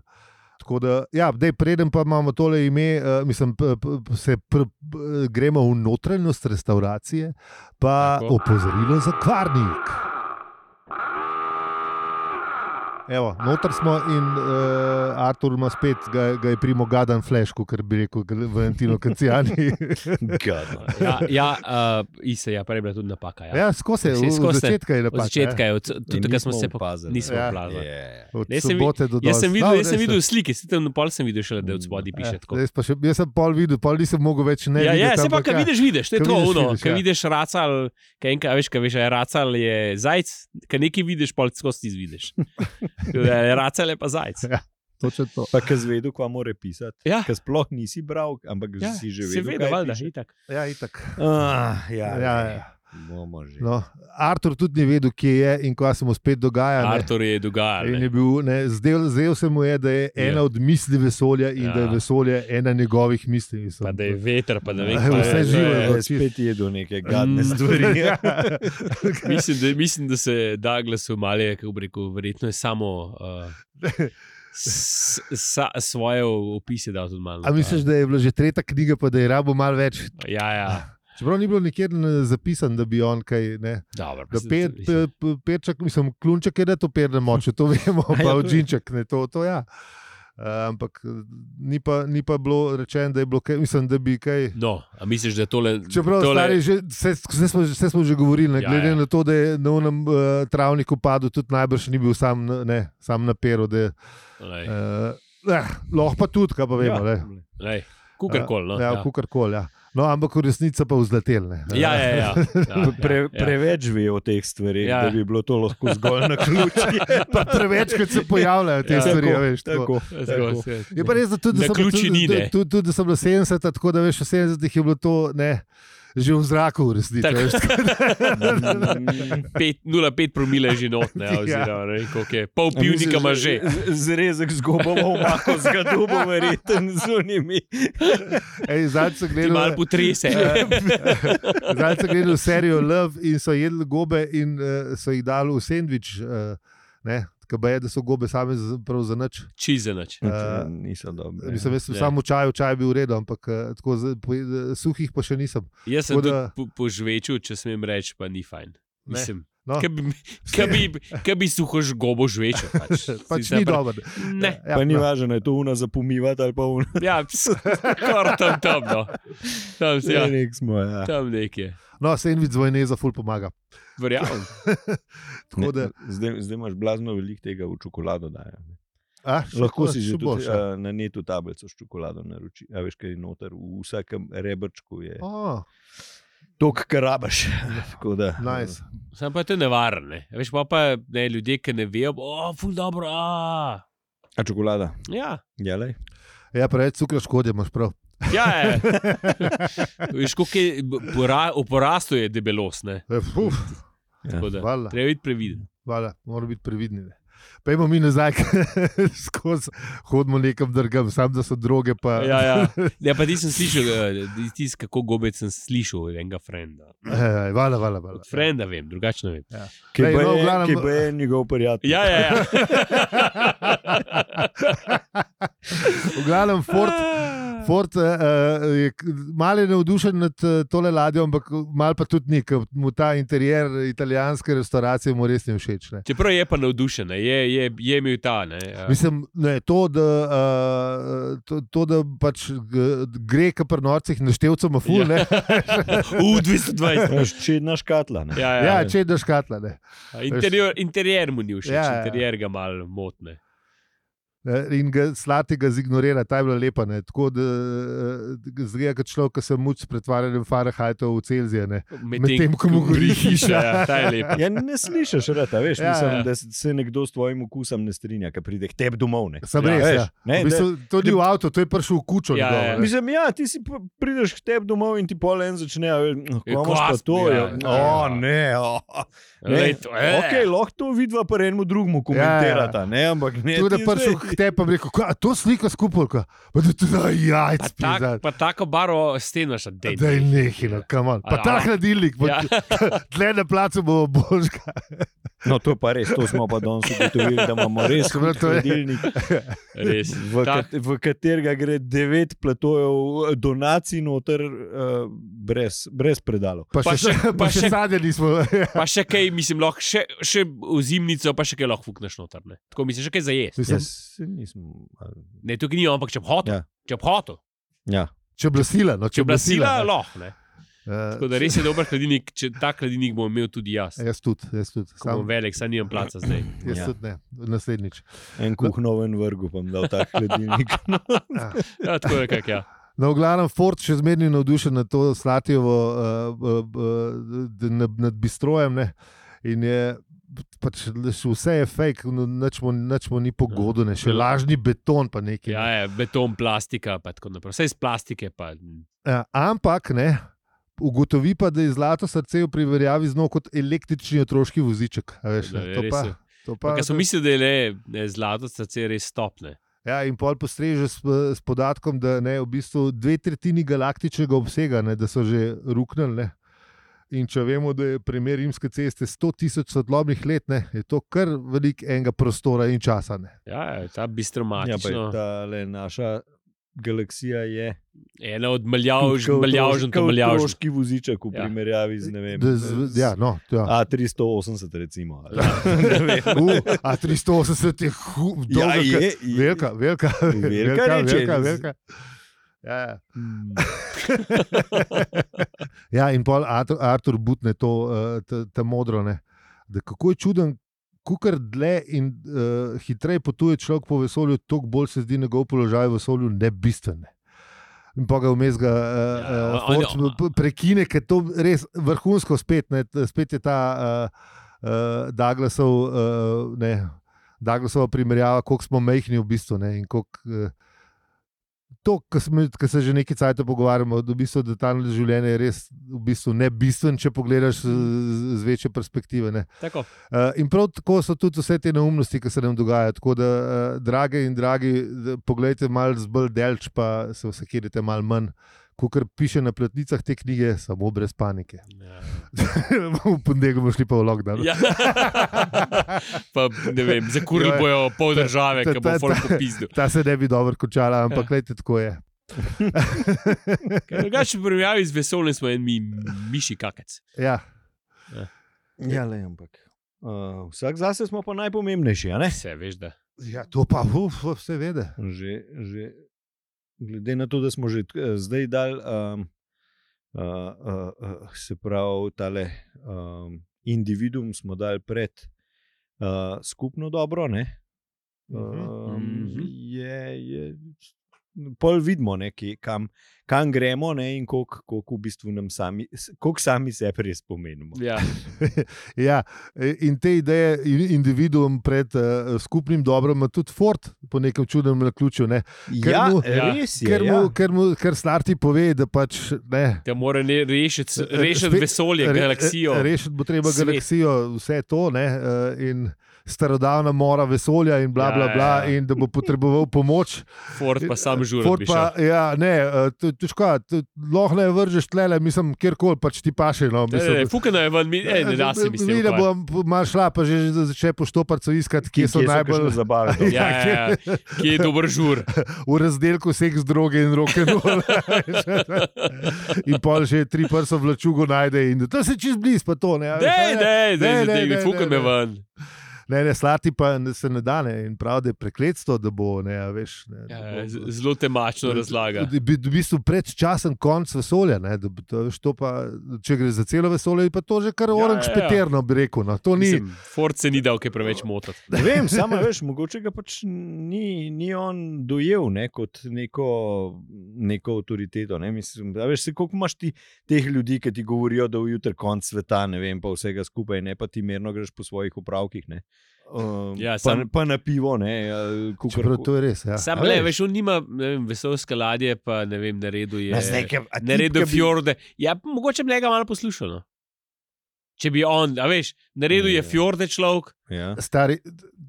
[SPEAKER 1] Tako da, ja, dej, preden pa imamo tole ime, uh, mislim, p, p, p- se pr, p, gremo v notranjost restauracije, pa
[SPEAKER 2] Tako.
[SPEAKER 1] Tako. opozorilo za kvarnik. Evo, noter smo in uh, Artur ima spet, ga, ga je primo gadan flešku, ker bi rekel gr- Valentino
[SPEAKER 2] (laughs)
[SPEAKER 1] Kancijani.
[SPEAKER 3] Gadno.
[SPEAKER 2] Ja, ja uh, Ise, ja, prej je bila tudi napaka. Ja.
[SPEAKER 1] ja, skozi
[SPEAKER 2] Vse
[SPEAKER 1] je, od
[SPEAKER 2] skozi.
[SPEAKER 1] začetka je
[SPEAKER 2] Od
[SPEAKER 1] napad.
[SPEAKER 2] začetka je, od,
[SPEAKER 3] In
[SPEAKER 2] tudi takrat smo
[SPEAKER 3] nismo
[SPEAKER 2] se pokazali.
[SPEAKER 3] opazili.
[SPEAKER 2] Nismo
[SPEAKER 1] Ja.
[SPEAKER 2] opazili.
[SPEAKER 3] Je.
[SPEAKER 1] Od
[SPEAKER 2] Jaz sem vid-
[SPEAKER 1] sobote do
[SPEAKER 2] Jaz
[SPEAKER 1] danes.
[SPEAKER 2] sem videl,
[SPEAKER 1] No,
[SPEAKER 2] jaz sem
[SPEAKER 1] res je. Ja.
[SPEAKER 2] videl slike, sitem na pol sem videl, šele, da od spodaj piše tako.
[SPEAKER 1] Jaz, pa še, jaz sem pol videl, pol nisem mogel več ne
[SPEAKER 2] ja,
[SPEAKER 1] videti.
[SPEAKER 2] ja, se pa,
[SPEAKER 1] ampak
[SPEAKER 2] ki
[SPEAKER 1] ja.
[SPEAKER 2] vidiš, vidiš, to je
[SPEAKER 1] Ko
[SPEAKER 2] tako,
[SPEAKER 1] vidiš,
[SPEAKER 2] ono,
[SPEAKER 1] vidiš,
[SPEAKER 2] ki
[SPEAKER 1] ja.
[SPEAKER 2] vidiš racal, ki enkrat veš, kaj veš, a je racal je zajc, ki nekaj vidiš, pol skozi ti
[SPEAKER 1] (laughs)
[SPEAKER 2] vidiš. Racal je pa zajc.
[SPEAKER 1] Točno to.
[SPEAKER 3] Pa ki zvedu, kva more pisati.
[SPEAKER 2] Ja.
[SPEAKER 3] Ki sploh nisi bral, ampak
[SPEAKER 2] Ja,
[SPEAKER 3] ja, si že
[SPEAKER 2] se
[SPEAKER 3] vedel.
[SPEAKER 2] vedel,
[SPEAKER 3] kaj
[SPEAKER 2] valjda,
[SPEAKER 3] piše.
[SPEAKER 2] itak.
[SPEAKER 1] Ja, itak.
[SPEAKER 3] Ah, ja,
[SPEAKER 1] Ja,
[SPEAKER 3] lej,
[SPEAKER 1] ja.
[SPEAKER 3] Bomo že.
[SPEAKER 1] No, Artur tudi ni vedel, kje je in kaj se mu spet dogaja. Ja, ne.
[SPEAKER 2] Artur je
[SPEAKER 1] In
[SPEAKER 2] dogajal.
[SPEAKER 1] je bil, ne, zdel, zdel se mu je, da je ena od misli vesolja in
[SPEAKER 2] Ja.
[SPEAKER 1] ja. da je vesolje ena njegovih misli. mislim.
[SPEAKER 2] Pa da je
[SPEAKER 1] (laughs)
[SPEAKER 2] veter, pa da ne vem,
[SPEAKER 1] Ja,
[SPEAKER 2] kaj
[SPEAKER 1] vse
[SPEAKER 2] je, to
[SPEAKER 1] živo
[SPEAKER 2] je-
[SPEAKER 1] je
[SPEAKER 3] je spet jedel neke gadne
[SPEAKER 2] Mm.
[SPEAKER 3] stvari.
[SPEAKER 1] Ja.
[SPEAKER 2] Mislim, da, mislim, da se Douglas v Maliju, kako bi rekel, verjetno je samo
[SPEAKER 1] (laughs)
[SPEAKER 2] uh, s, sa, svoje opise dal tudi malo.
[SPEAKER 1] A misliš, da je bila že tretja knjiga, pa da je rabo malo več?
[SPEAKER 2] Ja, ja,
[SPEAKER 1] Čeprav ni bilo nikjer eh, zapisano, da bi on kaj. Ne,
[SPEAKER 2] dobro.
[SPEAKER 1] da pe, pe, pe, perček, mislim, klunček je da to perne moče, to (laughs) vemo, pa
[SPEAKER 3] Ja, to je.
[SPEAKER 1] odžinček, ne to, to ja. Uh, ampak eh, ni pa, ni pa bilo rečeno, da je bilo kaj, mislim, da bi kaj.
[SPEAKER 2] No, a misliš, da tole.
[SPEAKER 1] Čeprav
[SPEAKER 2] tole...
[SPEAKER 1] stari, že, vse, vse, smo, vse smo že govorili, ne,
[SPEAKER 2] Ja,
[SPEAKER 1] glede ja,
[SPEAKER 2] ja.
[SPEAKER 1] ja. na to, da je na unem uh, travniku padel, tudi najbrž ni bil sam, na- ne, sam na peru. Da,
[SPEAKER 2] Lej,
[SPEAKER 1] uh, eh, lahko pa tudi, kaj pa vemo. Ja,
[SPEAKER 2] lej, kukorkoli. No,
[SPEAKER 1] ja, ja. kukorkoli. Ja. No, ampak v resnici so pa vzletelne.
[SPEAKER 2] ja, ja, ja, ja, ja,
[SPEAKER 3] Pre,
[SPEAKER 2] ja.
[SPEAKER 3] preveč ve o teh stvarih,
[SPEAKER 2] Ja.
[SPEAKER 3] ja. da bi bilo to lahko zgolj na ključ.
[SPEAKER 1] (laughs) Pa prevečkrat se pojavljajo te
[SPEAKER 2] Ja.
[SPEAKER 1] ja, stvari. a
[SPEAKER 3] Tako,
[SPEAKER 1] Veš, tako.
[SPEAKER 3] Tako.
[SPEAKER 2] Tako,
[SPEAKER 1] Je pa res, da tudi
[SPEAKER 2] Na
[SPEAKER 1] da so bila-
[SPEAKER 2] ključi
[SPEAKER 1] tudi-
[SPEAKER 2] ni, ne.
[SPEAKER 1] tudi- Tudi, tudi da so bila 70, tako da veš, v 70-ih je bilo to ne, že v zraku, v resnici.
[SPEAKER 2] Tako.
[SPEAKER 1] veš,
[SPEAKER 2] (laughs) (laughs) Pet- 0,5 promile je že notne,
[SPEAKER 1] (laughs) Ja.
[SPEAKER 2] oziroma ne vem, koliko je. Pol pivnika ima že.
[SPEAKER 3] Zrezek zgobo, omako zgadu, bo verjeten z unimi.
[SPEAKER 1] Ej, Zadnjič sem
[SPEAKER 2] Ti
[SPEAKER 1] gledal,
[SPEAKER 2] malo potrese.
[SPEAKER 1] Ja.
[SPEAKER 2] (laughs)
[SPEAKER 1] (laughs) Zdaj so eh, gledali serijo Love in so jedli gobe in uh, so jih dali v sendvič. Uh, Kaj pa je, da so gobe same z- prav za nič.
[SPEAKER 2] Čize noč.
[SPEAKER 1] Eh,
[SPEAKER 3] Niso dobre.
[SPEAKER 1] Mislim, jaz sem
[SPEAKER 2] Ja.
[SPEAKER 1] samo v čaju, čaj je bil v redu, ampak eh, tako za- po- eh, suhih pa še nisem.
[SPEAKER 2] Jaz sem
[SPEAKER 1] tako
[SPEAKER 2] da...
[SPEAKER 1] da-
[SPEAKER 2] požvečil, če smem reči, pa ni fajn.
[SPEAKER 1] Ne,
[SPEAKER 2] Mislim,
[SPEAKER 1] No,
[SPEAKER 2] kaj bi, kaj bi, kaj bi suho žgobo žvečil. Pač,
[SPEAKER 1] (laughs) (laughs) pač
[SPEAKER 2] Sicer
[SPEAKER 1] ni
[SPEAKER 2] pa-
[SPEAKER 1] dobro.
[SPEAKER 2] Ne,
[SPEAKER 1] Ja,
[SPEAKER 3] Pa ni
[SPEAKER 1] no.
[SPEAKER 3] važno, a je to una za pomivati ali pa una.
[SPEAKER 2] ja, (laughs) skoraj tam tam, no. tam, se- ja,
[SPEAKER 3] Nek smo, ja.
[SPEAKER 2] tam nekje.
[SPEAKER 1] No, sendvič z vojneza ful pomaga.
[SPEAKER 2] Verjamem.
[SPEAKER 1] Tako da,
[SPEAKER 3] Zdaj, zdaj imaš blazno veliko tega v čokolado. Dajo, ne.
[SPEAKER 1] a, še
[SPEAKER 3] Lahko
[SPEAKER 1] to,
[SPEAKER 3] si
[SPEAKER 1] še
[SPEAKER 3] že tudi, ja.
[SPEAKER 1] boljše.
[SPEAKER 3] a, na netu tablico s čokolado naroči. A veš, kaj je noter, v vsakem rebrčku je
[SPEAKER 1] O, Ja.
[SPEAKER 3] tok, kar rabaš. (laughs) Tako da, eh,
[SPEAKER 1] nice.
[SPEAKER 2] Sam pa je to nevaren. Ne. Veš pa, pa ne, ljudje, ki ne vejo, o, ful dobro. A.
[SPEAKER 3] A čokolada?
[SPEAKER 2] Ja,
[SPEAKER 3] Jelej.
[SPEAKER 1] Ja, preveč cukra škode, imaš prav.
[SPEAKER 2] ja
[SPEAKER 1] (laughs)
[SPEAKER 2] je. Veš, koliko je b- pora, v porastu je debelost. Ne.
[SPEAKER 1] Eh, Uf, Ja,
[SPEAKER 2] Tako da
[SPEAKER 1] hvala.
[SPEAKER 2] Treba biti previden.
[SPEAKER 1] Hvala, moramo biti previdni. ne. Pojdimo mi nazaj, (laughs) skozi hodimo nekam drugam, sam da so droge. Pa...
[SPEAKER 2] Ja,
[SPEAKER 1] (laughs)
[SPEAKER 2] ja. Ja, pa nisem slišal, tis, kako gobec sem slišal od enega frenda.
[SPEAKER 1] Eh, Hvala, hvala. hvala.
[SPEAKER 2] Od frenda vem, drugače ne vem.
[SPEAKER 3] Ki
[SPEAKER 1] Lej,
[SPEAKER 3] pa
[SPEAKER 1] no, v
[SPEAKER 3] je,
[SPEAKER 1] glavnem-
[SPEAKER 3] ki pa je njegov prijatelj.
[SPEAKER 2] Ja, ja, ja.
[SPEAKER 1] (laughs) V glavnem, Ford,
[SPEAKER 2] Ah.
[SPEAKER 1] Ford uh, je k- malo je navdušen nad eh, tole ladjo, ampak malo pa tudi ni, ker mu ta interjer italijanske restauracije mu res ni všeč. Ne.
[SPEAKER 2] Čeprav je pa navdušen, ne, je, je, je imel ta. Ne, ja.
[SPEAKER 1] (laughs) Mislim, ne, to, da, uh, to, to, da pač g- gre, kar pri norcih naštevcem, aful.
[SPEAKER 2] Ja.
[SPEAKER 1] Ja.
[SPEAKER 2] U,
[SPEAKER 1] (laughs)
[SPEAKER 2] 220.
[SPEAKER 3] Če naš katla. Ne?
[SPEAKER 2] Ja, ja.
[SPEAKER 1] Ja,
[SPEAKER 2] ja,
[SPEAKER 1] če je do škatla. Ne.
[SPEAKER 2] interior, interior mu ni všeč,
[SPEAKER 1] Ja, ja.
[SPEAKER 2] ja, ja. interior ga malo motne.
[SPEAKER 1] Eh, In ga slati ga zignorira, ta je bila lepa. Ne? Tako da eh, da zgleda, kot človek, ki se muči s pretvarjanjem Farahajta v Celzije. Ne? Medtem, ko mu gori hiša.
[SPEAKER 2] (laughs) Ja, ta je lepa.
[SPEAKER 3] Ja, ne slišiš, rata, veš,
[SPEAKER 1] Ja,
[SPEAKER 3] ja, mislim,
[SPEAKER 2] ja.
[SPEAKER 3] ja. da se se nekdo s tvojim okusom ne strinja, ki pride k tebi domov. Ne?
[SPEAKER 1] Sem
[SPEAKER 2] Ja,
[SPEAKER 1] res.
[SPEAKER 3] veš,
[SPEAKER 1] Ja.
[SPEAKER 3] ne,
[SPEAKER 1] V bistvu, to ni v avtu, to je prišel v kučo.
[SPEAKER 2] Ja,
[SPEAKER 1] njegov,
[SPEAKER 2] ja.
[SPEAKER 1] ne.
[SPEAKER 3] Mislim, ja, ti si pa- prideš k tebi domov in ti pol en začne, a veš, "No,
[SPEAKER 2] Ja,
[SPEAKER 3] kako imaš pa
[SPEAKER 2] kvas,
[SPEAKER 3] to.
[SPEAKER 2] ja,
[SPEAKER 3] Ja,
[SPEAKER 2] ja.
[SPEAKER 3] o, ne, o, (laughs) ne.
[SPEAKER 2] Lej, to, eh.
[SPEAKER 3] Okay, lahko to vidva pa enemu drugemu komentirata, ja, ne, ampak ne.
[SPEAKER 1] Tudi da
[SPEAKER 3] ti
[SPEAKER 1] prišel
[SPEAKER 3] zdaj-
[SPEAKER 1] k tebi in rekel, "Kva, a to slika skupaj, pa da ti da
[SPEAKER 2] Pa,
[SPEAKER 1] jajc,
[SPEAKER 2] tak,
[SPEAKER 1] pizdat."
[SPEAKER 2] pa tako baro stenaš, da
[SPEAKER 1] Da je nehilo, kamor. no, Pa
[SPEAKER 2] Ja.
[SPEAKER 1] ta hladilnik,
[SPEAKER 2] Ja.
[SPEAKER 1] pa (laughs) tle na placu bo božka.
[SPEAKER 3] No, to pa res, to smo pa danes ugotovili, da imamo res
[SPEAKER 1] Dobro, to je-
[SPEAKER 3] hladilnik.
[SPEAKER 2] Res.
[SPEAKER 3] v,
[SPEAKER 2] Tak.
[SPEAKER 3] kat, v katerega gre devet platojev eh, donacij noter, uh, brez, brez predalov.
[SPEAKER 1] Pa,
[SPEAKER 2] Pa
[SPEAKER 1] še,
[SPEAKER 2] še-
[SPEAKER 1] (laughs) pa
[SPEAKER 2] pa
[SPEAKER 1] še
[SPEAKER 2] še-
[SPEAKER 1] sadje nismo. (laughs)
[SPEAKER 2] Pa še kaj, mislim, lahko še, še v zimnico, pa še kaj lahko fukneš noter. Ne. Tako mislim, še kaj za jesti.
[SPEAKER 1] Mislim,
[SPEAKER 3] Jaz se nisem. ali-
[SPEAKER 2] Ne, tukaj ni, ampak če bi hotel.
[SPEAKER 3] Ja.
[SPEAKER 2] Če bi hotel.
[SPEAKER 3] Ja.
[SPEAKER 1] če blasila, no,
[SPEAKER 2] Če bi bila sila,
[SPEAKER 1] ne.
[SPEAKER 2] lahko. ne.
[SPEAKER 1] Eh,
[SPEAKER 2] Tako da res je dober hladilnik, če ta hladilnik bom imel tudi jaz.
[SPEAKER 1] Jaz tudi, jaz tudi.
[SPEAKER 2] Ko bom
[SPEAKER 1] Ja, Sam,
[SPEAKER 2] velik, saj nimam placa zdaj.
[SPEAKER 1] jaz
[SPEAKER 3] Ja.
[SPEAKER 1] tudi ne, naslednjič.
[SPEAKER 3] En kuhnoven vrgu pa mi dal ta hladilnik.
[SPEAKER 2] Ja, tako je, kak ja.
[SPEAKER 1] No, v glavnem, Ford še zmeraj navdušen nad to Slatijevo, uh, uh, uh, d- nad, nad bistrojem. Ne? In je pač še vse je fake, no, nič mu, nič mu ni pogodno, še lažni beton, pa nekaj.
[SPEAKER 2] Ja, je, beton, plastika, pa tako naprej. Vse iz plastike, pa
[SPEAKER 1] Ja, ampak ne. Ugotovi pa, da je zlato srce v primerjavi z njo kot električni otroški voziček. a Veš,
[SPEAKER 2] Da,
[SPEAKER 1] ne,
[SPEAKER 2] je
[SPEAKER 1] to
[SPEAKER 2] res
[SPEAKER 1] pa,
[SPEAKER 2] je.
[SPEAKER 1] to pa,
[SPEAKER 2] Ker sem mislil, da je le ne, zlato srce res stopne.
[SPEAKER 1] ja, in pol postreže s, s podatkom, da ne, v bistvu dve tretjini galaktičnega obsega, ne, da so že ruknili. Ne. In če vemo, da je primer rimske ceste 100 tisoč svetlobnih let, ne, je to kar velik enega prostora in časa. Ne.
[SPEAKER 2] Ja, je, ta
[SPEAKER 3] ja, pa je
[SPEAKER 2] bistromatična. Ja,
[SPEAKER 3] ta le naša. Galaksija je
[SPEAKER 2] Ena od
[SPEAKER 3] kot
[SPEAKER 2] maljavžen, to
[SPEAKER 3] otroš- kot
[SPEAKER 2] maljavžen.
[SPEAKER 3] otroški voziček v
[SPEAKER 2] Ja.
[SPEAKER 3] primerjavi z ne vem.
[SPEAKER 1] Da, z, ja, no, ja.
[SPEAKER 3] A380, recimo. ali- ne vem.
[SPEAKER 1] U, a 380 je hu-
[SPEAKER 3] Ja,
[SPEAKER 1] dolga, ke-
[SPEAKER 3] je, je.
[SPEAKER 1] Velika, velika,
[SPEAKER 3] Velika
[SPEAKER 1] velika,
[SPEAKER 3] reč je.
[SPEAKER 1] velika, velika. Ja, ja.
[SPEAKER 3] Hmm.
[SPEAKER 1] (laughs) ja, in pol Artur, Artur Butne to, eh, ta- ta modro. Ne. Da kako je čuden, kukar dlje in uh, hitreje potuje človek po vesolju, toliko bolj se zdi njegov položaj v vesolju nebistven. Ne. In pa ga vmes ga
[SPEAKER 2] Ja,
[SPEAKER 1] uh,
[SPEAKER 2] on-
[SPEAKER 1] ja, uh, prekine, ker to res vrhunsko spet, ne, t- spet je ta uh, uh, Douglasov. Uh, ne, Douglasova primerjava, koliko smo mehni v bistvu. Ne, in koliko, eh, to, kar se že nekaj časa pogovarjamo, da, v bistvu, da ta način življenja je res v bistvu ne bistven, če pogledaš z, z- z večje perspektive. Ne.
[SPEAKER 2] Tako.
[SPEAKER 1] Eh, In prav tako so tudi vse te neumnosti, ki se nam dogajajo. Tako da, eh, drage in dragi, da- poglejte malo z bolj delč, pa se vse kjerite malo manj, ko kar piše na platnicah te knjige, samo brez panike. (laughs)
[SPEAKER 2] Ja.
[SPEAKER 1] v ponedeljek bomo šli pa v lockdown. (laughs)
[SPEAKER 2] Ja. pa, ne vem, zakurili
[SPEAKER 1] Ja.
[SPEAKER 2] bojo pol države,
[SPEAKER 1] Ta-
[SPEAKER 2] ki
[SPEAKER 1] ta-
[SPEAKER 2] bo folk
[SPEAKER 1] ta- (laughs)
[SPEAKER 2] popizdil.
[SPEAKER 1] Ta se ne bi dobro končala,
[SPEAKER 2] Ja.
[SPEAKER 1] ampak gledajte, tako je.
[SPEAKER 2] Ker drugače v primerjavi z vesoljem smo en mi, miši kakec.
[SPEAKER 1] Ja,
[SPEAKER 3] Ja, le, ampak. Uh, vsak zase smo pa najpomembnejši, a ne?
[SPEAKER 2] Se veš, da.
[SPEAKER 1] ja to pa uf, uf, vse vede.
[SPEAKER 3] Že, že, glede na to, da smo že tk- eh, zdaj dali, um, uh, uh, uh, se pravi, tale um, individuum smo dali pred uh, skupno dobro, ne?
[SPEAKER 1] Mhm.
[SPEAKER 3] Um,
[SPEAKER 2] Mhm.
[SPEAKER 3] je, je, pol vidimo, ne, kje, kam, kam gremo ne, in koliko kolik v bistvu nam sami, koliko sami sebe res pomenimo.
[SPEAKER 2] Ja.
[SPEAKER 1] Ja, e, in te ideje, in- individuum pred uh, skupnim dobrom, ima tudi Ford po nekem čudnem naključju. Ne? Ker
[SPEAKER 3] Ja,
[SPEAKER 1] mu-
[SPEAKER 2] Ja.
[SPEAKER 3] res je.
[SPEAKER 1] Ker,
[SPEAKER 3] ja.
[SPEAKER 1] mu, ker, mu, ker starti pove, da pač ne.
[SPEAKER 2] Da mora ne rešiti, s-
[SPEAKER 1] Re-
[SPEAKER 2] rešiti
[SPEAKER 1] spe-
[SPEAKER 2] vesolje,
[SPEAKER 1] Re- e,
[SPEAKER 2] galaksijo.
[SPEAKER 1] Rešiti bo treba
[SPEAKER 2] svet.
[SPEAKER 1] svet. galaksijo, vse to, ne, eh, in starodavna mora vesolja, in bla,
[SPEAKER 2] Ja,
[SPEAKER 1] bla,
[SPEAKER 2] ja,
[SPEAKER 1] bla,
[SPEAKER 2] ja.
[SPEAKER 1] in da bo potreboval pomoč.
[SPEAKER 2] Ford pa sam žuri.
[SPEAKER 1] Ford pa, ja, ne, eh, to- težko, to- lahko ne vržeš tlele, mislim, kjerkoli pač ti paše. No,
[SPEAKER 2] Ne, ne,
[SPEAKER 1] mislim,
[SPEAKER 2] ne, fukano je ven, mi, E, ne, ne da se mi
[SPEAKER 1] Mi
[SPEAKER 2] zdi.
[SPEAKER 1] da bom malo šla, pa že že začne poštoparco iskati, kje so
[SPEAKER 3] Kje
[SPEAKER 1] najbolj
[SPEAKER 3] kakšne zabave. doma?
[SPEAKER 2] Ja, ja, ja. Kje je dober
[SPEAKER 1] (laughs)
[SPEAKER 2] žur?
[SPEAKER 1] v razdelku seks, droge in roke.
[SPEAKER 2] (laughs)
[SPEAKER 1] in pol še tri prste v lačugu najde in to se čez blizu, pa to ne. a veš,
[SPEAKER 2] Dej,
[SPEAKER 1] ne, ne,
[SPEAKER 2] dej,
[SPEAKER 1] ne,
[SPEAKER 2] dej, dej,
[SPEAKER 1] ne,
[SPEAKER 2] dej, fuka
[SPEAKER 1] ne,
[SPEAKER 2] me
[SPEAKER 1] ne.
[SPEAKER 2] ven.
[SPEAKER 1] Ne, ne, slati pa ne- se ne da, ne. in pravi, da je prekletstvo, da bo, ne, a veš. Ne, da
[SPEAKER 2] Ja,
[SPEAKER 1] bo-
[SPEAKER 2] z- Zelo temačno razlaga.
[SPEAKER 1] Da bi- V bistvu predčasen konc vesolja. Ne, da bi to, veš, to pa, če gre za celo vesolje, je pa to že kar
[SPEAKER 2] Ja,
[SPEAKER 1] oranž
[SPEAKER 2] ja, ja.
[SPEAKER 1] peterno, bi rekel. No. To ni.
[SPEAKER 2] Mislim, Ford se ni dal kaj preveč motiti.
[SPEAKER 3] Ne vem, samo veš, mogoče ga pač ni, ni on dojel ne, kot neko, neko avtoriteto. Ne. Mislim, da veš, se, koliko imaš ti teh ljudi, ki ti govorijo, da je jutri konc sveta, ne vem, pa vsega skupaj, ne pa ti mirno greš po svojih upravkih. Ne. Um,
[SPEAKER 2] Ja,
[SPEAKER 3] ja, pa,
[SPEAKER 2] sam-
[SPEAKER 3] pa na pivo, ne, eh, kukar-
[SPEAKER 1] Čeprav to je res. Ja.
[SPEAKER 2] Sam
[SPEAKER 1] A
[SPEAKER 2] le, veš, on nima ne vem, vesolske ladje, pa ne vem, naredil je.
[SPEAKER 3] Na zdaj, ke- a
[SPEAKER 2] Naredil je
[SPEAKER 3] tip, ke bi-
[SPEAKER 2] fjorde. Ja, mogoče bi njega malo poslušal. No. Če bi on, a veš, naredil je
[SPEAKER 3] Ja.
[SPEAKER 2] fjorde človek,
[SPEAKER 3] Ja.
[SPEAKER 1] Stari,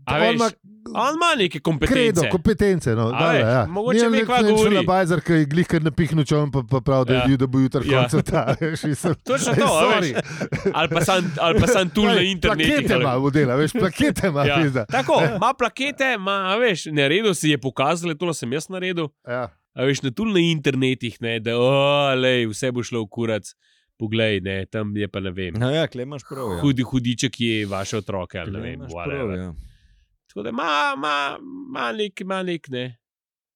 [SPEAKER 2] A
[SPEAKER 1] on
[SPEAKER 2] veš,
[SPEAKER 1] ima
[SPEAKER 2] on ima neke kompetence.
[SPEAKER 1] kredo, kompetence. No,
[SPEAKER 2] A
[SPEAKER 1] da,
[SPEAKER 2] veš,
[SPEAKER 1] ja.
[SPEAKER 2] mogoče mi kva govori.
[SPEAKER 1] na bajzer, ki je glihkar napihnil, če on pa, pa pravi, da,
[SPEAKER 2] Ja.
[SPEAKER 1] ja. da bo jutri ja.
[SPEAKER 2] Ja.
[SPEAKER 1] konc sveta. (laughs) veš, mislim.
[SPEAKER 2] Točno
[SPEAKER 1] Ej,
[SPEAKER 2] to, a veš.
[SPEAKER 1] sorry.
[SPEAKER 2] Ali pa sam, ali pa sam tu na
[SPEAKER 1] Ej,
[SPEAKER 2] internetu. torej.
[SPEAKER 1] Plakete ima, modela, veš, plakete ima.
[SPEAKER 2] Ja.
[SPEAKER 1] Ja. (laughs)
[SPEAKER 2] Tako, ima plakete, ima, a veš, naredil si je pokazal, to sem jaz naredil.
[SPEAKER 1] Ja.
[SPEAKER 2] A veš, na tulnih internetih, ne, da "O, lej, vse bo šlo v kurac, poglej, ne, tam je pa ne vem.
[SPEAKER 3] No, ja, klej imaš prav. Ja.
[SPEAKER 2] Hudi hudiček je vaše otroke, ali ne
[SPEAKER 3] Tule
[SPEAKER 2] vem,
[SPEAKER 3] imaš
[SPEAKER 2] whatever.
[SPEAKER 3] ja.
[SPEAKER 2] Tako da ima, ima, ima nek, ima nek, ne.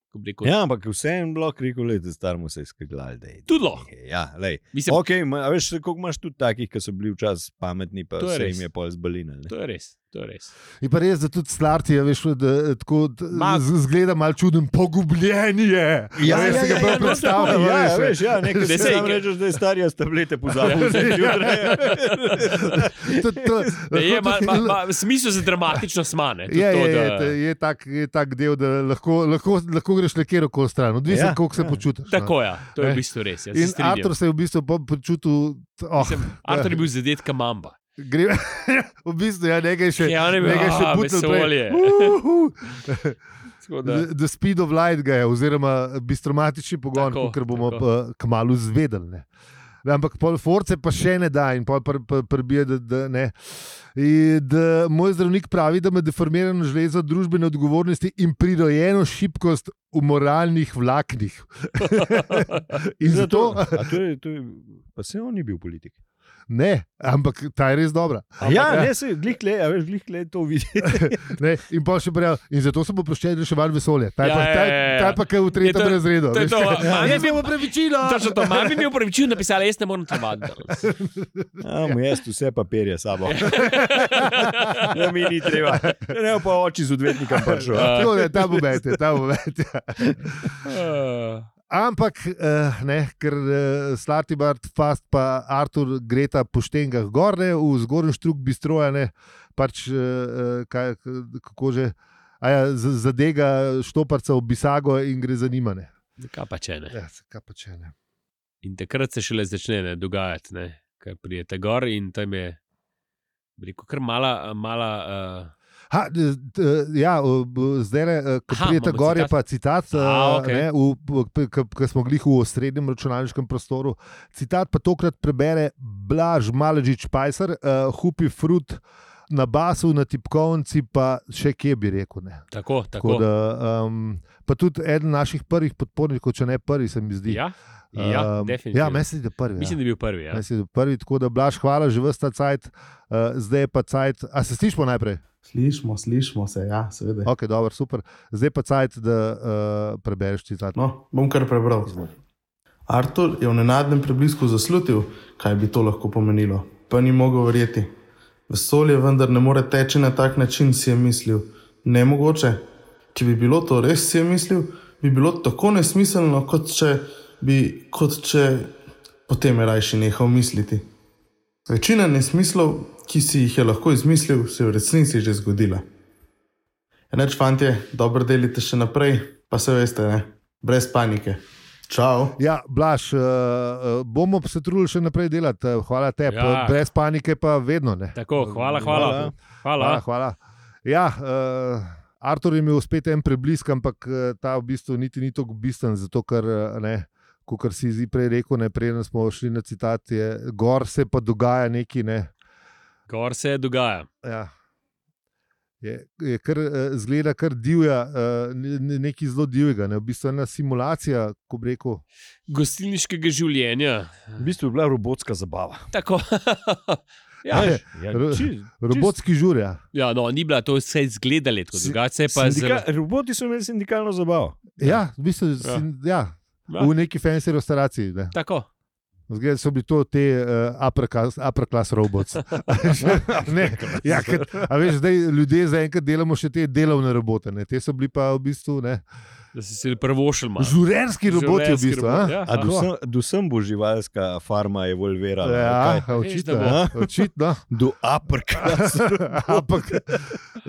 [SPEAKER 2] Kako bi rekel,
[SPEAKER 3] ja, ampak vseeno bilo kriko, da starmo se je skrbljal.
[SPEAKER 2] Tudi lahko.
[SPEAKER 3] Ja, lej.
[SPEAKER 2] Mislim,
[SPEAKER 3] Okay, a veš, koliko imaš tudi takih, ki so bili včasih pametni, pa
[SPEAKER 2] To je
[SPEAKER 3] se
[SPEAKER 2] res.
[SPEAKER 3] jim je pol zbalinali.
[SPEAKER 2] To je res, to je
[SPEAKER 1] (laughs)
[SPEAKER 2] res.
[SPEAKER 1] Je pa res, da tudi starti, ja, veš, da eh, tako d-
[SPEAKER 2] Ma-
[SPEAKER 1] z- zgleda malo čuden, pogubljen je.
[SPEAKER 3] Ja,
[SPEAKER 1] A veš,
[SPEAKER 3] ja,
[SPEAKER 1] si ga
[SPEAKER 3] ja,
[SPEAKER 1] prav
[SPEAKER 3] ja, no,
[SPEAKER 1] predstavljam,
[SPEAKER 3] Ja,
[SPEAKER 1] a
[SPEAKER 3] ja, veš, ja,
[SPEAKER 2] Daj,
[SPEAKER 3] nekaj se
[SPEAKER 2] sej,
[SPEAKER 3] jim
[SPEAKER 2] ke-
[SPEAKER 3] rečeš, da je star, jaz tablete
[SPEAKER 2] Ja.
[SPEAKER 3] pozabil. vse (laughs) zjutraj.
[SPEAKER 1] To-
[SPEAKER 2] (laughs)
[SPEAKER 1] to- eh, lahko
[SPEAKER 2] Ne, je, ma,
[SPEAKER 1] tudi-
[SPEAKER 2] ma,
[SPEAKER 1] (laughs)
[SPEAKER 2] ma, smisel za dramatično smane.
[SPEAKER 1] Je, je,
[SPEAKER 2] to,
[SPEAKER 1] je,
[SPEAKER 2] da,
[SPEAKER 1] Ja, to je, tak, je tak del, da lahko, lahko, lahko greš na kjer koli stran, odvisno
[SPEAKER 3] Ja,
[SPEAKER 1] ja, koliko se
[SPEAKER 3] ja.
[SPEAKER 1] ja. počutiš. no.
[SPEAKER 2] tako je, to je v
[SPEAKER 1] Ne.
[SPEAKER 2] bistvu res. jaz se
[SPEAKER 1] In
[SPEAKER 2] strinjam.
[SPEAKER 1] Artur se je v bistvu po- počutil, t- oh,
[SPEAKER 2] Mislim, Artur je bil zadetka mamba.
[SPEAKER 1] gre, (laughs) v bistvu je ja, nekaj še.
[SPEAKER 2] Ja, ne vem,
[SPEAKER 1] nekaj še
[SPEAKER 2] "Ah,
[SPEAKER 1] butel prej."
[SPEAKER 2] vesolje."
[SPEAKER 1] Uhu.
[SPEAKER 2] Tako da-
[SPEAKER 1] The, the speed of light ga je, oziroma bistromatični pogon,
[SPEAKER 2] Tako,
[SPEAKER 1] ker bomo
[SPEAKER 2] tako.
[SPEAKER 1] pa kmalo zvedeli. Ne. Da, Ampak pol force pa še ne da in pol pr- pr- prbije, da, da ne. In Da, moj zdravnik pravi, da ima deformirano železo družbene odgovornosti in prirojeno šibkost v moralnih
[SPEAKER 2] (laughs)
[SPEAKER 1] vlaknih. in zato,
[SPEAKER 3] A to je, to je, pa se on ni bil politik.
[SPEAKER 1] ne, ampak ta je res dobra.
[SPEAKER 2] Ampak,
[SPEAKER 3] ja,
[SPEAKER 1] ja.
[SPEAKER 3] ne, se glihle, a veš, glihle to (laughs) vidi.
[SPEAKER 1] Ne, in pa še pravi, in zato sem oproščen reševal vesolje. Ta je
[SPEAKER 2] Ja,
[SPEAKER 1] pa,
[SPEAKER 2] ja,
[SPEAKER 1] ta,
[SPEAKER 2] ja, ja.
[SPEAKER 1] ta je pa kaj v tretjem
[SPEAKER 2] Je to-
[SPEAKER 1] razredu.
[SPEAKER 2] to je to, a- a
[SPEAKER 1] (laughs)
[SPEAKER 2] ne
[SPEAKER 1] ne bi upravičila.
[SPEAKER 2] Točno to, mami mi je upravičil, napisala, jaz ne morem tlavati.
[SPEAKER 1] (laughs)
[SPEAKER 3] Amo Ja, jaz vse papirje
[SPEAKER 2] (laughs)
[SPEAKER 3] s sabo. Ja, mi ni treba. Ja, Ne, pa oči z odvetnikom (laughs) prišel.
[SPEAKER 2] Ja.
[SPEAKER 1] Tako je, ta bo met, je, ta bo met. ja.
[SPEAKER 2] Uh,
[SPEAKER 1] Ampak, eh, ne, ker eh, Slatibard, Fast pa Artur greta po štengah gorne, v zgornji štruk bistroja, ne, pač eh, eh, kaj, kako že. A ja, z- zadega štoparca v bisago in gre zanimane.
[SPEAKER 2] kaj pa če ne.
[SPEAKER 1] Ja, se kaj pa če ne.
[SPEAKER 2] In takrat se šele začne ne, dogajati, ne, kaj prijete gor in tam je, bi rekel, kar mala, mala uh,
[SPEAKER 1] Ha, d- d- ja, zdaj le, ko
[SPEAKER 2] Aha,
[SPEAKER 1] prijete
[SPEAKER 2] imamo
[SPEAKER 1] gor, je
[SPEAKER 2] citat.
[SPEAKER 1] pa citat,
[SPEAKER 2] A,
[SPEAKER 1] eh,
[SPEAKER 2] okej.
[SPEAKER 1] ne, v- v- k- k- ko smo glih v osrednjem računalniškem prostoru. Citat pa tokrat prebere Blaž Maležič Pajsar, eh, Hupi Frut na basu, na tipkovnici, pa še kje bi rekel. Ne.
[SPEAKER 2] Tako,
[SPEAKER 1] Tako
[SPEAKER 2] tako.
[SPEAKER 1] da, um, pa tudi eden naših prvih podpornikov, če ne prvi, se mi zdi.
[SPEAKER 2] Ja, ja
[SPEAKER 1] Ehm,
[SPEAKER 2] definitivno.
[SPEAKER 1] ja meni se zdi, da prvi.
[SPEAKER 2] Mislim, da
[SPEAKER 1] ja.
[SPEAKER 2] je bil prvi. Ja.
[SPEAKER 1] Meni se zdi, da prvi, tako da blaš, hvala že vsta cajt, uh, zdaj je pa cajt. A se slišmo najprej?
[SPEAKER 4] Slišimo, slišimo se, ja,
[SPEAKER 1] (laughs)
[SPEAKER 4] seveda.
[SPEAKER 1] Ok, dobro, super. Zdaj je pa cajt, da uh, prebereš citat.
[SPEAKER 4] No, bom kar prebral. Artur je v nenadnem preblisku zaslutil, kaj bi to lahko pomenilo, pa ni mogel verjeti. Vesolje vendar ne more teči na tak način, si je mislil. Nemogoče. Če bi bilo to res, si je mislil, bi bilo tako nesmiselno, kot če bi, kot če potem je rajši nehal misliti. Večina nesmislov, ki si jih je lahko izmislil, se je v resnici že zgodila. Reč, Ja, fantje, dobro delite še naprej, pa se veste, ne? brez panike. Čau.
[SPEAKER 1] Ja, Blaž, uh, bomo se trudili še naprej delati, eh, hvala tebi,
[SPEAKER 2] Ja.
[SPEAKER 1] ja. brez panike pa vedno ne.
[SPEAKER 2] Tako, hvala, hvala.
[SPEAKER 1] Ehm, Hvala,
[SPEAKER 2] hvala.
[SPEAKER 1] hvala. Ja, uh, Artur je imel spet en preblisk, ampak eh, ta v bistvu niti ni tako bistven, zato ker, eh, ne, kot si zdaj prej rekel, ne, prej nas smo šli na citat, je, gor se pa dogaja neki. Ne,
[SPEAKER 2] Gor se dogaja.
[SPEAKER 1] ja. Je, je kar, eh, zgleda kar divja, eh, ne- ne- nekaj zelo divjega, ne, v bistvu ena simulacija, ko bi rekel.
[SPEAKER 2] Gostilniškega življenja.
[SPEAKER 3] V bistvu je bila robotska zabava.
[SPEAKER 2] Tako. (laughs) ja,
[SPEAKER 1] Ne,
[SPEAKER 3] Ja,
[SPEAKER 1] ro-
[SPEAKER 3] čist-
[SPEAKER 1] Robotski žurja.
[SPEAKER 2] ja, no, ni bila to vse izgledala, tako
[SPEAKER 3] Si-
[SPEAKER 2] drugače se je E pa
[SPEAKER 3] Sindika,
[SPEAKER 2] zelo.
[SPEAKER 3] zelo... Roboti so imeli sindikalno zabavo.
[SPEAKER 1] Ja, v bistvu ja. Sin, ja,
[SPEAKER 2] Ja.
[SPEAKER 1] v neki fensi restauraciji. Ne.
[SPEAKER 2] Tako.
[SPEAKER 1] Zgledaj so bili to te uh, upper class- upper class robots. ne, ja, ker, a veš, zdaj ljudje zaenkrat delamo še te delovne robote, ne. te so bili pa v bistvu ne,
[SPEAKER 2] Da si se prvošil malo.
[SPEAKER 1] žurerski roboti. V
[SPEAKER 2] Življenjski
[SPEAKER 1] bistvu,
[SPEAKER 2] robot,
[SPEAKER 1] a?
[SPEAKER 2] ja.
[SPEAKER 3] A dosem, dosem bo živalska farma evolvirala. ali
[SPEAKER 1] Ja,
[SPEAKER 3] kaj?
[SPEAKER 1] očitno.
[SPEAKER 2] Veš,
[SPEAKER 3] da
[SPEAKER 1] očitno.
[SPEAKER 3] Do aprka.
[SPEAKER 1] Ampak,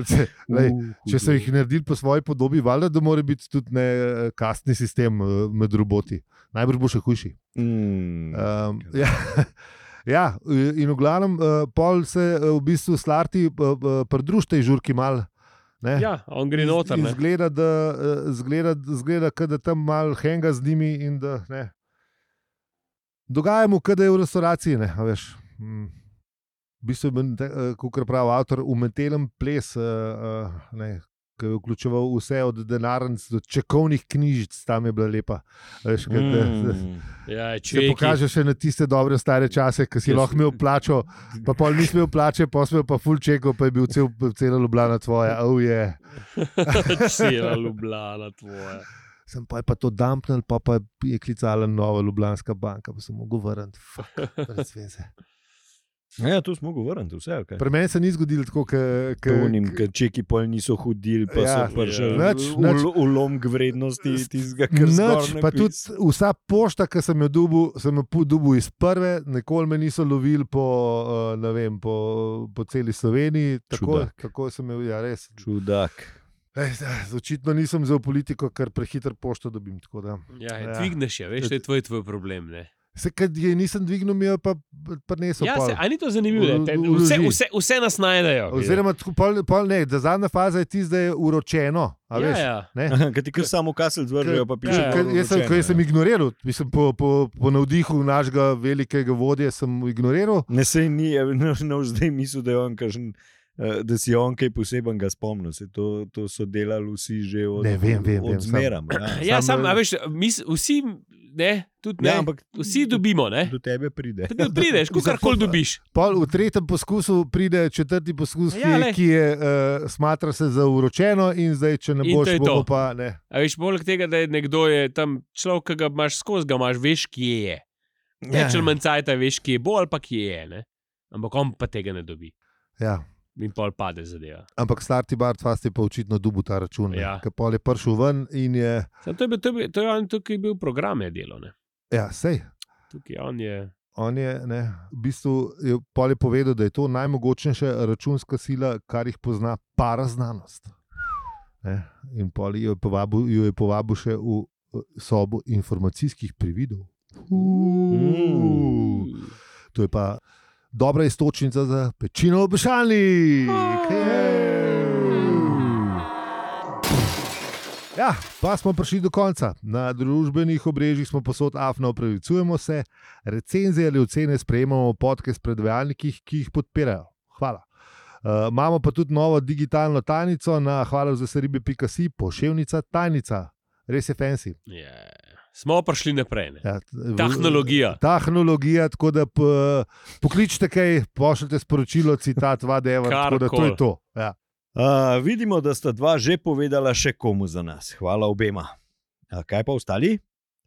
[SPEAKER 1] se, (laughs) lej, če so jih naredili po svoji podobi, valjda, da mora biti tudi ne, eh, kastni sistem eh, med roboti. Najbrž bo še hujši.
[SPEAKER 3] Mm.
[SPEAKER 1] Um, ja, (laughs) ja, in v glavnem, eh, pol se eh, v bistvu slarti, eh, eh, pridružite tej žurki mal. Ne?
[SPEAKER 2] Ja, on gre
[SPEAKER 1] Iz-
[SPEAKER 2] noter.
[SPEAKER 1] in
[SPEAKER 2] ne.
[SPEAKER 1] Zgleda, da, eh, zgleda, zgleda kot da tam mal henga z njimi in da ne. Dogaja mu, kot da je v restauraciji, ne, a veš. Mm. V bistvu je, kot pravi avtor, umetelen ples, eh, eh, ne, ki je vključeval vse od denarnic do čekovnih knjižic, tam je bila lepa. a Veš, kad, mm.
[SPEAKER 2] Ja,
[SPEAKER 1] Če
[SPEAKER 2] če
[SPEAKER 1] pokažeš še na tiste dobre stare čase, ki si lahko imel plačo, pa pol nisi imel plače, pa si imel pa full čeko, pa je bil cel, cela Ljubljana tvoja. Oh, yeah.
[SPEAKER 2] (laughs) Cela Ljubljana tvoja.
[SPEAKER 1] Sem pa, je pa to dumpnil, pa, pa je klicala nova Ljubljanska banka, pa sem mogel vrniti. Fuck, brez veze.
[SPEAKER 3] (laughs) ja, to smo govorili, vse. ali kaj?
[SPEAKER 1] Pri meni se ni zgodilo tako, kot
[SPEAKER 3] To onim, ker čeki pol niso hodili, pa
[SPEAKER 1] Ja,
[SPEAKER 3] ja, so prišli
[SPEAKER 1] nič, nič.
[SPEAKER 3] v ulom k vrednosti tistega, kar
[SPEAKER 1] Noč, pa tudi vsa pošta, ki sem jo dobil, sem jo pu- dobil iz prve, nikoli me niso lovili po, eh, ne vem, po, po celi Sloveniji. Tako,
[SPEAKER 3] Čudak.
[SPEAKER 1] tako sem jo, ja, res.
[SPEAKER 3] Čudak.
[SPEAKER 1] Ej, zdaj, Očitno nisem za politiko, ker prehiter pošto dobim. tako da.
[SPEAKER 2] Ja,
[SPEAKER 1] Ja.
[SPEAKER 2] ja. Dvigneš je, veš, to je tvoj, tvoj problem. Ne?
[SPEAKER 1] Se, kad je nisem dvignil, mi je pa b- prinesel.
[SPEAKER 2] Ja,
[SPEAKER 1] pol.
[SPEAKER 2] se, a ni to zanimivo? da te-
[SPEAKER 1] Vloži.
[SPEAKER 2] Vse, vse, vse nas najdejo.
[SPEAKER 1] Oziroma, tako pol, pol ne, da zadnja faza je tisto, da je uročeno. a
[SPEAKER 2] ja,
[SPEAKER 1] veš.
[SPEAKER 2] ja.
[SPEAKER 3] (laughs) Kaj ti kar samo kasel zvržejo, pa piše.
[SPEAKER 1] Ker- ker
[SPEAKER 3] "Oro
[SPEAKER 1] Eh. jaz sem- Ko
[SPEAKER 3] ročeno",
[SPEAKER 1] jaz sem
[SPEAKER 3] ja.
[SPEAKER 1] ignoriral, mislim, po, po, po navdihu našega velikega vodje sem ignoriral.
[SPEAKER 3] Ne, sej ni, ja, (laughs) no, no, zdaj mislim, da, je on kakšen, eh, da si je on kaj posebnega spomnil. Se to, to so delali vsi že od,
[SPEAKER 1] Ne, vem, vem, vem,
[SPEAKER 3] od zmeram. Ja.
[SPEAKER 2] Ja,
[SPEAKER 1] Samo-
[SPEAKER 2] sam, a veš, mis, vsi, ne, tudi ne, Eh.
[SPEAKER 3] Ne,
[SPEAKER 2] ja,
[SPEAKER 3] ampak
[SPEAKER 2] vsi dobimo. Ne?
[SPEAKER 3] do tebe
[SPEAKER 2] (laughs)
[SPEAKER 3] pride.
[SPEAKER 2] Pa ti Prideš, ko karkoli dobiš.
[SPEAKER 1] Pol v tretjem poskusu pride četrti poskus, ki
[SPEAKER 2] Ja,
[SPEAKER 1] je,
[SPEAKER 2] lej.
[SPEAKER 1] ki je uh, smatra se za uročeno, in zdaj, če ne
[SPEAKER 2] In
[SPEAKER 1] boš,
[SPEAKER 2] to je
[SPEAKER 1] bo bo
[SPEAKER 2] to.
[SPEAKER 1] pa ne.
[SPEAKER 2] A veš, poleg tega, da je nekdo je tam človek, ki ga imaš skozi, ga imaš, veš, kje je.
[SPEAKER 3] Ja,
[SPEAKER 2] Ja, če manjcajta, veš, kje bo ali pa kje je. Ne? Ampak on pa tega ne dobi
[SPEAKER 1] Ja.
[SPEAKER 2] in pol pade zadeva.
[SPEAKER 1] Ampak starti Bart Fast je pa očitno dubu ta račun. Ja.
[SPEAKER 2] Ja.
[SPEAKER 1] Ker pol je prišel ven in je,
[SPEAKER 2] Sam, to, je bil, to, je bil, to je on tukaj bil program, je delo. Ne?
[SPEAKER 1] ja, sej.
[SPEAKER 2] Tukaj on je.
[SPEAKER 1] On je, ne, v bistvu je pol je povedal, da je to najmogočnejša računska sila, kar jih pozna paraznanost. Ne, In pol jo je povabil, jo je povabil še v eh, sobo informacijskih prividov. Uuu. To je pa dobra istočnica za pečino obešalnik. Hej! Ja, pa smo prišli do konca. Na družbenih obrežjih smo posod afna, upravičujemo se, recenzije ali ocene sprejemamo v podcast predvajalnikih, ki jih podpirajo. Hvala. Uh, imamo pa tudi novo digitalno tajnico na hvala za seribe.si, pošiljka tajnica, res je fancy.
[SPEAKER 2] Yeah. Ja. Smo prišli naprej. Ne?
[SPEAKER 1] Ja, v-
[SPEAKER 2] Tehnologija.
[SPEAKER 1] Tehnologija, tako da p- pokličite kaj, pošljite sporočilo, citat, vadeva, tako da to je
[SPEAKER 2] Karkoli.
[SPEAKER 1] to. Ja.
[SPEAKER 3] Uh, vidimo, da sta dva že povedala še komu za nas. Hvala obema. A kaj pa ostali?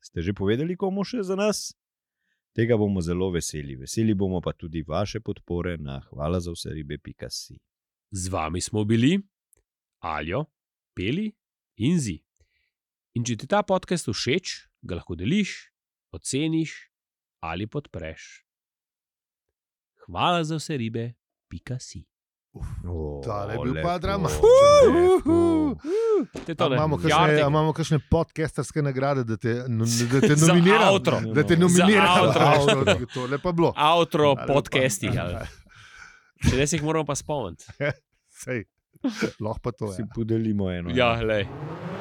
[SPEAKER 3] Ste že povedali komu še za nas? Tega bomo zelo veseli. Veseli bomo pa tudi vaše podpore na hvala za vse ribe.si.
[SPEAKER 2] Z vami smo bili Aljo, Peli in Zi. In če ti ta podcast všeč, ga lahko deliš, oceniš ali podpreš. Hvala za vse ribe, pika si.
[SPEAKER 1] Tale je bil pa dramatičen.
[SPEAKER 3] Uhuhu.
[SPEAKER 2] To je to,
[SPEAKER 1] A
[SPEAKER 2] ne?
[SPEAKER 1] Imamo kakšne,
[SPEAKER 2] Jardek.
[SPEAKER 1] a imamo kakšne podcasterske nagrade, da te, no- da te
[SPEAKER 2] Za
[SPEAKER 1] nominiramo.
[SPEAKER 2] outro.
[SPEAKER 1] Da te nominiramo. (laughs)
[SPEAKER 2] Za outro.
[SPEAKER 1] To je pa bilo.
[SPEAKER 2] Outro
[SPEAKER 1] Ali pa-
[SPEAKER 2] podcasti.
[SPEAKER 1] (laughs)
[SPEAKER 2] Še res jih moramo pa spomniti.
[SPEAKER 1] Sej, lahko pa to ja. je.
[SPEAKER 3] Si podelimo eno. eh.
[SPEAKER 2] Ja, lej.